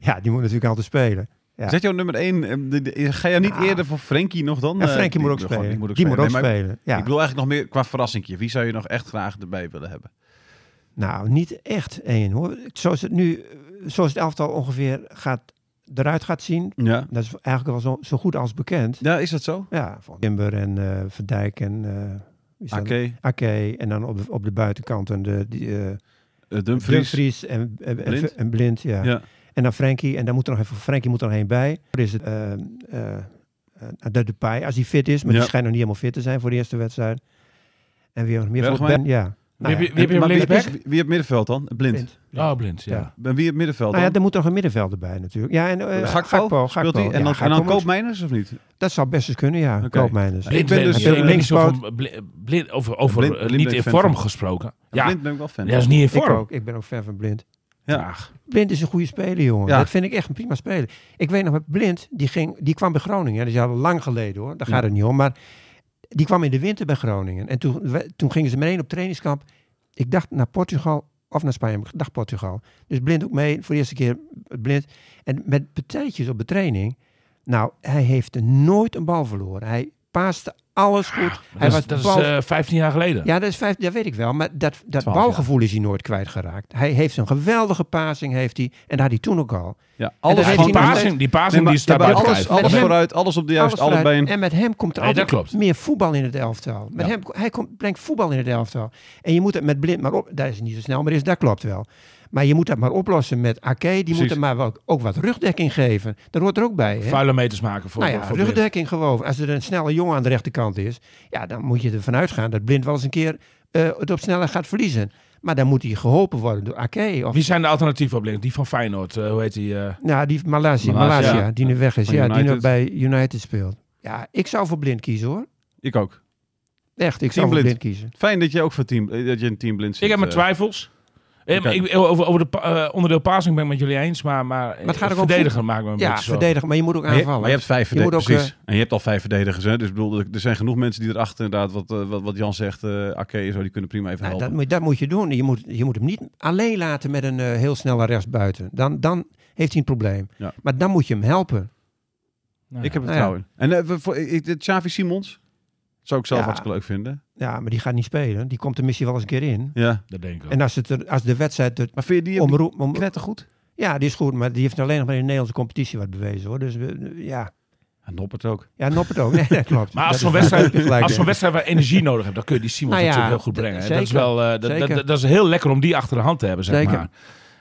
Speaker 4: Ja, die moet natuurlijk altijd spelen. Ja.
Speaker 3: Zet jou nummer 1. Ga je niet eerder voor Frenkie nog dan?
Speaker 4: En
Speaker 3: Eh,
Speaker 4: Frenkie
Speaker 3: die
Speaker 4: moet ook
Speaker 3: gewoon-
Speaker 4: spelen. Die moet ook spelen.
Speaker 3: Nee, maar
Speaker 4: Ja.
Speaker 3: Ik bedoel eigenlijk nog meer qua verrassingje. Wie zou je nog echt graag erbij willen hebben?
Speaker 4: Nou, niet echt één hoor. Zoals het nu, zoals het elftal ongeveer gaat, eruit gaat zien,
Speaker 3: Ja.
Speaker 4: dat is eigenlijk wel zo, zo goed als bekend.
Speaker 3: Ja, is dat zo?
Speaker 4: Ja, van Timber en eh Van Dijk en... eh, wie is dat?
Speaker 3: Oké.
Speaker 4: Ake. En dan op de, op de buitenkant en de, die, eh,
Speaker 3: Eh, Dumfries.
Speaker 4: Dumfries en, en, en-
Speaker 3: Blind.
Speaker 4: en Blind. Ja.
Speaker 3: Ja.
Speaker 4: En dan Frenkie. En dan moet er nog even, Frenkie moet er nog één bij. Er is het, eh, eh, eh, de Depay, als hij fit is. Maar
Speaker 3: Ja.
Speaker 4: die schijnt nog niet helemaal fit te zijn voor de eerste wedstrijd. En weer nog meer voor
Speaker 3: Bergwijn.
Speaker 4: Ben. Ja. Nou,
Speaker 5: wie,
Speaker 4: ja.
Speaker 5: wie heb je op
Speaker 3: Maar wie,
Speaker 5: linksback?
Speaker 3: wie, wie op middenveld dan? Blind.
Speaker 4: Blind.
Speaker 5: Oh, blind, ja.
Speaker 4: Ja.
Speaker 3: En Wie op middenveld
Speaker 4: Nou ja,
Speaker 3: dan?
Speaker 4: er moet nog een middenvelder bij natuurlijk. Ja, en eh
Speaker 3: Gakpo?
Speaker 4: Gakpo,
Speaker 3: Speelt hij?
Speaker 4: Gakpo.
Speaker 3: En dan,
Speaker 4: Ja,
Speaker 3: en dan
Speaker 4: Gakpo moet-
Speaker 3: Koopmeiners of niet?
Speaker 4: Dat zou best eens kunnen, ja.
Speaker 3: Oké.
Speaker 4: Koopmeiners.
Speaker 5: Blind
Speaker 3: ben
Speaker 5: ben
Speaker 3: dus,
Speaker 5: ik ben
Speaker 3: eh,
Speaker 5: niet zo
Speaker 4: linkspoot.
Speaker 5: van bli- blind, over, over
Speaker 3: Blind-
Speaker 5: eh,
Speaker 3: blind
Speaker 5: niet
Speaker 3: ben ik
Speaker 5: in
Speaker 3: fan van.
Speaker 5: vorm gesproken. Ja,
Speaker 3: Blind ben ik wel fan.
Speaker 5: dat is niet in
Speaker 4: Ik
Speaker 5: vorm.
Speaker 4: ook. Ik ben ook fan van Blind.
Speaker 3: Ja.
Speaker 4: Blind is een goede speler, jongen.
Speaker 3: Ja.
Speaker 4: Dat vind ik echt een prima speler. Ik weet nog, Blind, die, ging, die kwam bij Groningen. Dat is al lang geleden hoor, daar gaat het niet om. Maar die kwam in de winter bij Groningen. En toen, we- toen gingen ze meteen op trainingskamp. Ik dacht naar Portugal of naar Spanje. maar Ik dacht Portugal. Dus Blind ook mee, voor de eerste keer Blind. En met partijtjes op de training. Nou, hij heeft nooit een bal verloren. Hij paaste alles goed. Hij
Speaker 5: Ah, Dat is, dat is
Speaker 4: bal-
Speaker 5: eh, 15 jaar geleden.
Speaker 4: ja, dat, is vijf, dat weet ik wel. Maar dat, dat
Speaker 3: Twaalf
Speaker 4: balgevoel is hij nooit kwijtgeraakt. Hij heeft een geweldige passing, heeft hij. en dat had hij toen ook al.
Speaker 3: Ja,
Speaker 4: dat
Speaker 3: alles
Speaker 4: heeft
Speaker 3: gewoon
Speaker 5: die
Speaker 4: hij nog
Speaker 3: alles,
Speaker 4: steeds.
Speaker 5: passing, die passing
Speaker 3: Nee, maar-
Speaker 5: die staat
Speaker 3: ja, maar
Speaker 5: buiten
Speaker 3: alles,
Speaker 5: kijf.
Speaker 3: alles
Speaker 4: Met hem-
Speaker 3: vooruit, alles op de juiste
Speaker 4: Alles
Speaker 3: allebei.
Speaker 4: vooruit. En met hem komt er
Speaker 5: Nee,
Speaker 4: altijd
Speaker 5: dat klopt.
Speaker 4: meer voetbal in het elftal. Met hem, hij komt, brengt voetbal in het elftal. En je moet het met blind maar op... Daar is hij niet zo snel, maar is, dat klopt wel. Maar je moet dat maar oplossen met Ake. Die moet
Speaker 3: Precies.
Speaker 4: er maar wel- ook wat rugdekking geven. Dat hoort er ook bij. Hè?
Speaker 5: Vuile meters maken voor,
Speaker 4: nou
Speaker 5: voor-
Speaker 4: ja,
Speaker 5: voor Blind.
Speaker 4: rugdekking gewoon. Als er een snelle jongen aan de rechterkant is, ja, dan moet je ervan uitgaan dat Blind wel eens een keer eh, het op sneller gaat verliezen. Maar dan moet hij geholpen worden door Ake. Of,
Speaker 5: Wie zijn de alternatieven op Blind? Die van Feyenoord, eh, hoe heet die? eh?
Speaker 4: nou, die Malasia,
Speaker 3: Malasia.
Speaker 4: Malasia, die nu weg is.
Speaker 3: Van
Speaker 4: Ja, die nu
Speaker 3: United.
Speaker 4: bij United speelt. Ja, ik zou voor Blind kiezen hoor.
Speaker 3: Ik ook.
Speaker 4: Echt, ik
Speaker 3: Team
Speaker 4: zou voor
Speaker 3: Blind.
Speaker 4: Blind kiezen.
Speaker 3: Fijn dat je ook voor team, eh, dat je een team blind zit.
Speaker 5: ik heb mijn
Speaker 3: eh.
Speaker 5: twijfels. Eh,
Speaker 3: oké.
Speaker 5: maar ik, over, over de pa- eh, onderdeel passing ben ik met jullie eens, maar, maar, eh,
Speaker 4: het gaat ook om
Speaker 5: verdediger maakt me een
Speaker 4: Ja,
Speaker 5: beetje zorgen.
Speaker 4: verdedigen, maar je moet ook
Speaker 3: Maar je,
Speaker 4: aanvallen.
Speaker 3: maar je hebt vijf
Speaker 4: Je moet
Speaker 3: verdedigers.
Speaker 4: ook, eh,
Speaker 3: Precies. En je hebt al vijf verdedigers. Hè? Dus ik bedoel, er zijn genoeg mensen die erachter inderdaad, wat, eh, wat, wat Jan zegt, eh Ake en zo, die kunnen prima even
Speaker 4: Nou,
Speaker 3: helpen.
Speaker 4: dat, moet, dat moet je doen. Je moet, je moet hem niet alleen laten met een eh, heel snelle rechtsbuiten. Dan, dan heeft hij een probleem.
Speaker 3: Ja.
Speaker 4: Maar dan moet je hem helpen.
Speaker 5: Nou,
Speaker 3: Ik heb het
Speaker 4: Nou ja.
Speaker 3: vertrouwen in. En eh, we- voor, ik, de Xavi Simons zou ik zelf
Speaker 4: Ja.
Speaker 3: hartstikke leuk vinden.
Speaker 4: Ja, maar die gaat niet spelen. Die komt er misschien wel eens een keer in.
Speaker 3: Ja.
Speaker 5: dat denk ik ook.
Speaker 4: En als, het er, als de wedstrijd er
Speaker 3: Maar vind je die ook
Speaker 4: omroep... Om,
Speaker 3: knettergoed?
Speaker 4: ja, die is goed, maar die heeft alleen nog maar in de Nederlandse competitie wat bewezen. hoor. Dus we- ja,
Speaker 3: En Noppert ook.
Speaker 4: ja Noppert ook. *laughs* Nee, dat klopt.
Speaker 5: Maar als
Speaker 4: Dat
Speaker 5: zo'n
Speaker 4: is-
Speaker 5: wedstrijd,
Speaker 4: heb je *laughs* gelijk
Speaker 5: als
Speaker 4: in.
Speaker 5: zo'n wedstrijd waar energie nodig hebt, dan kun je die Simons
Speaker 4: Nou ja,
Speaker 5: natuurlijk heel goed
Speaker 4: d-
Speaker 5: brengen. hè. dat, is
Speaker 4: zeker.
Speaker 5: wel, eh, dat- dat,
Speaker 4: Zeker.
Speaker 5: dat, is heel lekker om die achter de hand te hebben, zeg
Speaker 4: Zeker.
Speaker 5: maar.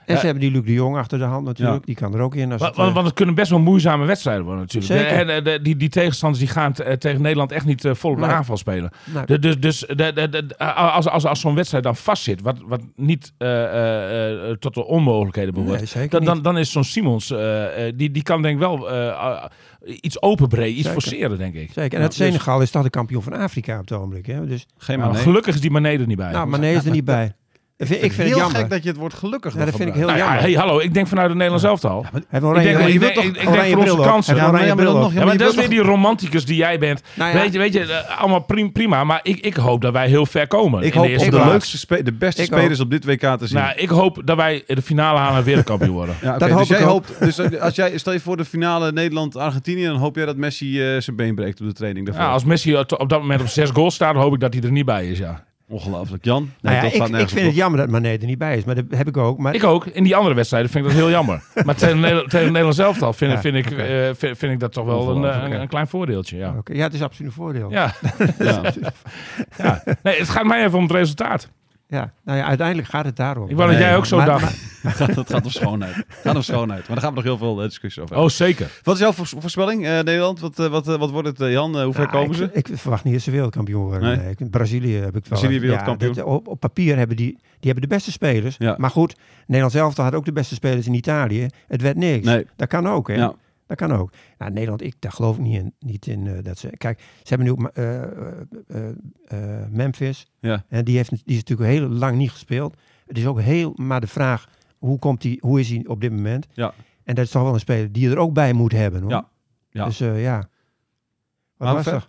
Speaker 4: En ze hebben die Luc de Jong achter de hand natuurlijk.
Speaker 3: Ja.
Speaker 4: Die kan er ook in. Als
Speaker 5: Wa- wa-
Speaker 4: het,
Speaker 5: Want,
Speaker 4: eh,
Speaker 5: het kunnen best wel moeizame wedstrijden worden natuurlijk.
Speaker 4: Zeker.
Speaker 5: En, eh, de- die, die tegenstanders die gaan te- eh, tegen Nederland echt niet eh, vol op de
Speaker 4: Nee.
Speaker 5: aanval spelen.
Speaker 4: nou,
Speaker 5: De- Dus, dus de, de, de- als, als, als zo'n wedstrijd dan vastzit, wat, wat niet eh, eh, eh, tot de onmogelijkheden behoort,
Speaker 4: nee, zeker
Speaker 5: dan,
Speaker 4: niet.
Speaker 5: dan, dan is zo'n Simons, eh, eh, die, die kan denk ik wel eh, ah, iets openbreken, iets
Speaker 4: Zeker.
Speaker 5: forceren, denk ik.
Speaker 4: Zeker. En
Speaker 3: Ja,
Speaker 4: het
Speaker 3: dus-
Speaker 4: Senegal is toch de kampioen van Afrika op het ogenblik. Hè? Dus,
Speaker 3: Geen
Speaker 5: Maar
Speaker 3: maar nee.
Speaker 5: Nou, gelukkig is die Mané er niet bij.
Speaker 4: nou, maar nee is er niet bij. Dat vind- Ik vind het
Speaker 3: heel
Speaker 4: jammer.
Speaker 3: gek dat je het woord gelukkig
Speaker 4: Ja, dat vind ik heel
Speaker 5: Nou ja,
Speaker 4: jammer.
Speaker 5: hey, hallo, ik denk vanuit het Nederlands elftal. Ja,
Speaker 4: Hij heeft een oranje,
Speaker 5: Ik denk- ik
Speaker 4: bril. Je
Speaker 5: denk-
Speaker 4: wilt
Speaker 5: ik-
Speaker 4: toch
Speaker 5: ik denk
Speaker 4: oranje
Speaker 5: voor onze
Speaker 4: bril op?
Speaker 5: kansen.
Speaker 4: Hij heeft een
Speaker 3: Ja, maar
Speaker 4: oranje
Speaker 3: ja,
Speaker 4: bril
Speaker 3: maar
Speaker 4: op.
Speaker 3: dan
Speaker 5: maar
Speaker 3: je
Speaker 5: dat is
Speaker 3: wilt
Speaker 5: weer die romanticus die jij bent.
Speaker 4: Nou ja.
Speaker 5: Weet je, weet je eh, allemaal prim- prima. Maar ik, ik hoop dat wij heel ver komen.
Speaker 3: Ik
Speaker 5: in
Speaker 3: hoop
Speaker 5: de eerste
Speaker 3: om de
Speaker 5: plaats.
Speaker 3: leukste, spe- de beste
Speaker 4: Ik
Speaker 3: spelers op dit WK te zien.
Speaker 5: Nou, ik hoop dat wij de finale halen en wereldkampioen
Speaker 4: *laughs*
Speaker 5: worden.
Speaker 3: Ja, oké,
Speaker 4: dat hoop
Speaker 3: dus
Speaker 4: ik
Speaker 3: jij
Speaker 4: ook.
Speaker 3: hoopt, dus als jij, stel je voor de finale Nederland-Argentinië, dan hoop jij dat Messi eh, zijn been breekt op de training daarvoor.
Speaker 5: Ja, als Messi op op dat moment op zes goals staat, hoop ik dat hij er niet bij is. Ja.
Speaker 3: Ongelooflijk. Jan? Nee,
Speaker 4: Nou ja,
Speaker 3: dat
Speaker 4: ik,
Speaker 3: gaat
Speaker 4: ik
Speaker 3: nergens
Speaker 4: vind het
Speaker 3: op.
Speaker 4: jammer dat Mané er niet bij is. Maar dat heb ik ook. Maar
Speaker 5: Ik ook. In die andere wedstrijden vind ik dat heel jammer. Maar tegen, Nederland- tegen het Nederlands elftal vind,
Speaker 4: Ja,
Speaker 5: vind, ik,
Speaker 4: oké.
Speaker 5: eh, vind, vind ik dat toch wel een, eh,
Speaker 3: Ongelooflijk,
Speaker 5: een,
Speaker 3: hè.
Speaker 5: een klein voordeeltje. Ja.
Speaker 4: Oké, Ja, het is absoluut een voordeel. Ja.
Speaker 5: Ja.
Speaker 3: Ja.
Speaker 5: Ja. Nee, het gaat mij even om het resultaat.
Speaker 4: Nou ja, uiteindelijk gaat het daarom.
Speaker 5: Ik wou dat
Speaker 3: Nee,
Speaker 5: jij ook zo
Speaker 4: maar-
Speaker 5: dacht.
Speaker 3: *laughs* Het gaat, het gaat om schoonheid. Het gaat om schoonheid. Maar daar gaan we nog heel veel eh, discussies over
Speaker 5: Oh, zeker.
Speaker 3: hebben. Wat is jouw voors- voorspelling, eh, Nederland? Wat, eh, wat, eh, wat wordt het, eh, Jan? Eh, hoe ver
Speaker 4: Nou,
Speaker 3: komen
Speaker 4: ik,
Speaker 3: ze?
Speaker 4: Ik verwacht niet dat ze wereldkampioen worden.
Speaker 3: Nee.
Speaker 4: Nee. ik- Brazilië heb ik wel.
Speaker 3: Brazilië wereldkampioen.
Speaker 4: Ja, dat- op, op papier hebben die, die hebben de beste spelers.
Speaker 3: Ja.
Speaker 4: Maar goed, Nederland zelf had ook de beste spelers in Italië. Het werd niks.
Speaker 3: Nee.
Speaker 4: Dat kan ook, hè?
Speaker 3: Ja.
Speaker 4: Dat kan ook. Nou, Nederland, ik, daar geloof ik niet in. Niet in eh, dat ze, kijk, ze hebben nu ook ma- eh, eh, eh, eh, Memphis.
Speaker 3: Ja.
Speaker 4: En die, heeft, die is natuurlijk heel lang niet gespeeld. Het is ook heel maar de vraag, hoe, komt die, hoe is hij op dit moment?
Speaker 3: Ja.
Speaker 4: En dat is toch wel een speler die je er ook bij moet hebben. Hoor.
Speaker 3: Ja. Ja.
Speaker 4: Dus eh, ja. Wat
Speaker 3: Maar
Speaker 4: was
Speaker 3: ver-
Speaker 4: er?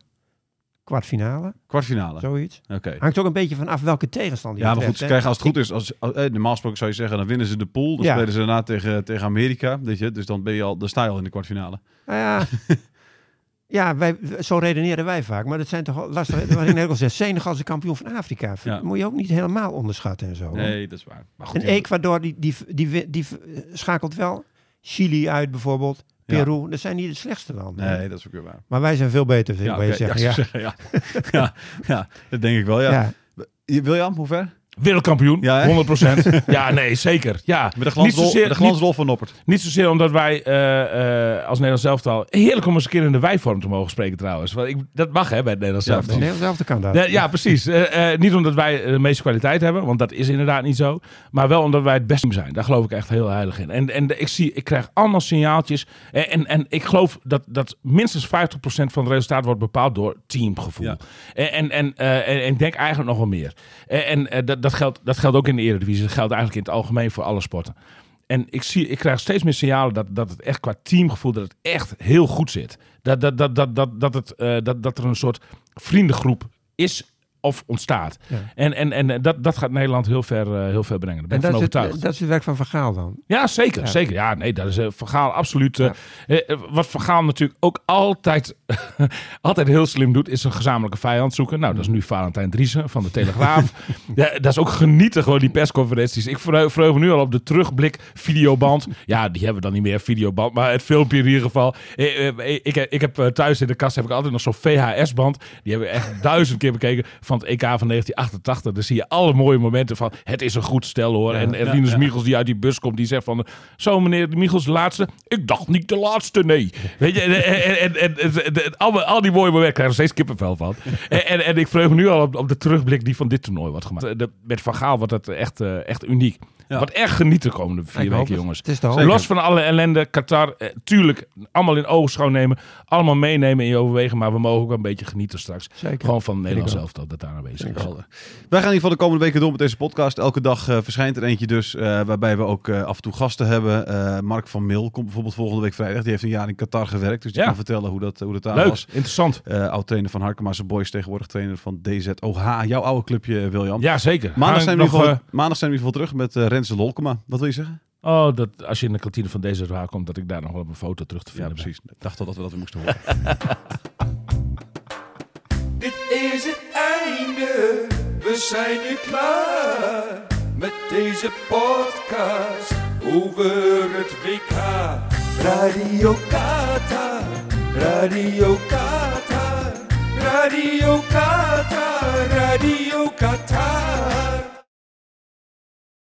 Speaker 4: Kwartfinale,
Speaker 3: Kwartfinale. Oké.
Speaker 4: zoiets. Hangt ook een beetje vanaf welke tegenstander je
Speaker 3: Ja, maar goed,
Speaker 4: treft,
Speaker 3: ze
Speaker 4: Ah, hè.
Speaker 3: krijgen als het goed is, als, als- eh, normaal gesproken zou je zeggen, dan winnen ze de pool. Dan
Speaker 4: Ja.
Speaker 3: spelen ze daarna tegen, tegen Amerika, weet je. Dus dan ben je al, dan sta je al in de kwartfinale. *laughs*
Speaker 4: Nou ja, ja wij, zo redeneren wij vaak. Maar dat zijn toch al lastige... Wat ik net al zei, Senegal is de kampioen van Afrika.
Speaker 3: Ja.
Speaker 4: Moet je ook niet helemaal onderschatten en zo. hoor.
Speaker 3: Nee, dat is waar. Maar goed,
Speaker 4: Oh. En
Speaker 3: ja,
Speaker 4: Ecuador, die, die, die, die, die schakelt wel Chili uit bijvoorbeeld.
Speaker 3: Ja.
Speaker 4: Peru, dat zijn niet de slechtste landen.
Speaker 3: Nee, dat is ook weer waar.
Speaker 4: Maar wij zijn veel beter, wil
Speaker 3: oké,
Speaker 4: je zeggen.
Speaker 3: ja,
Speaker 4: Ja,
Speaker 3: ik zou zeggen, ja. *laughs* ja, ja, dat denk ik wel, ja.
Speaker 4: Ja.
Speaker 3: Je- William, hoe ver?
Speaker 5: Wereldkampioen,
Speaker 3: Ja, hè?
Speaker 5: 100%. Ja, nee, zeker. Ja.
Speaker 3: Met de glansrol,
Speaker 5: zozeer-
Speaker 3: met de glansrol van Noppert.
Speaker 5: Niet zozeer omdat wij eh, eh, als Nederlands elftal... Heerlijk om eens een keer in de wijvorm te mogen spreken trouwens. Want ik, dat mag hè, bij het Nederlands
Speaker 3: Ja,
Speaker 5: elftal.
Speaker 3: precies.
Speaker 4: Nee, dezelfde kan dat.
Speaker 5: Ja, ja, precies. Eh, eh, niet omdat wij de meeste kwaliteit hebben, want dat is inderdaad niet zo. Maar wel omdat wij het beste team zijn. Daar geloof ik echt heel heilig in. En, en ik, zie, ik krijg allemaal signaaltjes. En, en, en ik geloof dat, dat minstens 50% van het resultaat wordt bepaald door teamgevoel.
Speaker 3: Ja.
Speaker 5: En, en, en, eh, en- en ik denk eigenlijk nog wel meer. En, en eh, dat, dat, geldt, dat geldt ook in de Eredivisie. Dat geldt eigenlijk in het algemeen voor alle sporten. En ik, zie, ik krijg steeds meer signalen dat, dat het echt qua teamgevoel dat het echt heel goed zit. Dat, dat, dat, dat, dat, dat, het, eh, dat, dat er een soort vriendengroep is of ontstaat.
Speaker 4: Ja.
Speaker 5: En, en, en dat, dat gaat Nederland heel ver, eh, heel ver brengen. Daar ben
Speaker 4: En
Speaker 5: ik van
Speaker 4: dat is, het,
Speaker 5: overtuigd.
Speaker 4: dat is het werk van Van Gaal dan.
Speaker 5: Ja, zeker.
Speaker 4: Ja.
Speaker 5: Zeker. Ja, nee, dat is eh, Van Gaal absoluut. eh, eh, wat Van Gaal natuurlijk ook altijd, *laughs* altijd heel slim doet, is een gezamenlijke vijand zoeken. Nou, dat is nu Valentijn Driessen van de Telegraaf. *laughs* ja, dat is ook genieten, gewoon die persconferenties. Ik verheug, verheug me nu al op de terugblik videoband. Ja, die hebben we dan niet meer, videoband. Maar het filmpje in ieder geval. Eh, eh, Ik, heb- ik heb eh, thuis in de kast heb ik altijd nog zo'n VHS-band. Die hebben we echt duizend keer bekeken van het EK van 1988. Daar zie je alle mooie momenten van. Het is een goed stel hoor. en en Linus Michels die uit die bus komt, die zegt van... Zo meneer Michels, de laatste? Ik dacht niet de laatste, nee. Weet je, en, en, en, en, en- en- en- al, al die mooie momenten krijgen we steeds kippenvel
Speaker 4: *laughs*
Speaker 5: van. En, en, en ik vreug me nu al op, op de terugblik die van dit toernooi wordt gemaakt. Eh, de- Met Van Gaal wordt dat echt, eh, echt uniek.
Speaker 3: Ja.
Speaker 5: Wat echt genieten de komende
Speaker 4: Ik
Speaker 5: vier
Speaker 4: hoop
Speaker 5: weken,
Speaker 4: het.
Speaker 5: jongens.
Speaker 4: Het is de hoop.
Speaker 3: Zeker.
Speaker 5: Los van alle ellende, Qatar, eh, tuurlijk, allemaal in oogschouw nemen. Allemaal meenemen in je overwegen, maar we mogen ook wel een beetje genieten straks.
Speaker 4: Zeker.
Speaker 5: Gewoon van Nederland
Speaker 4: ook.
Speaker 5: zelf dat dat daar aanwezig is.
Speaker 3: Helder. Wij gaan in ieder geval de komende weken door met deze podcast. Elke dag eh, verschijnt er eentje dus, eh, waarbij we ook eh, af en toe gasten hebben. Eh, Mark van Mil komt bijvoorbeeld volgende week vrijdag. Die heeft een jaar in Qatar gewerkt, dus die
Speaker 5: Ja.
Speaker 3: kan vertellen hoe dat, hoe dat daar
Speaker 5: Leuk,
Speaker 3: was.
Speaker 5: interessant.
Speaker 3: Eh Oud-trainer van Harkema's Boys, tegenwoordig trainer van DZOH. Jouw oude clubje, eh, William.
Speaker 5: Ja, zeker. Gaan
Speaker 3: Maandag, zijn we eh, in
Speaker 5: nog,
Speaker 3: ieder geval- maandag zijn we in ieder geval terug met eh Renze Lolkema. Wat wil je zeggen?
Speaker 5: eh, oh, dat als je in de kantine van deze raar komt, dat ik daar nog wel op een foto terug te
Speaker 3: Ja,
Speaker 5: vinden ben.
Speaker 3: precies. Ik dacht al dat we dat weer moesten horen.
Speaker 2: Dit is het einde, we zijn nu klaar met deze podcast over het WK. Radio Qatar, Radio Qatar, Radio Qatar, Radio Qatar.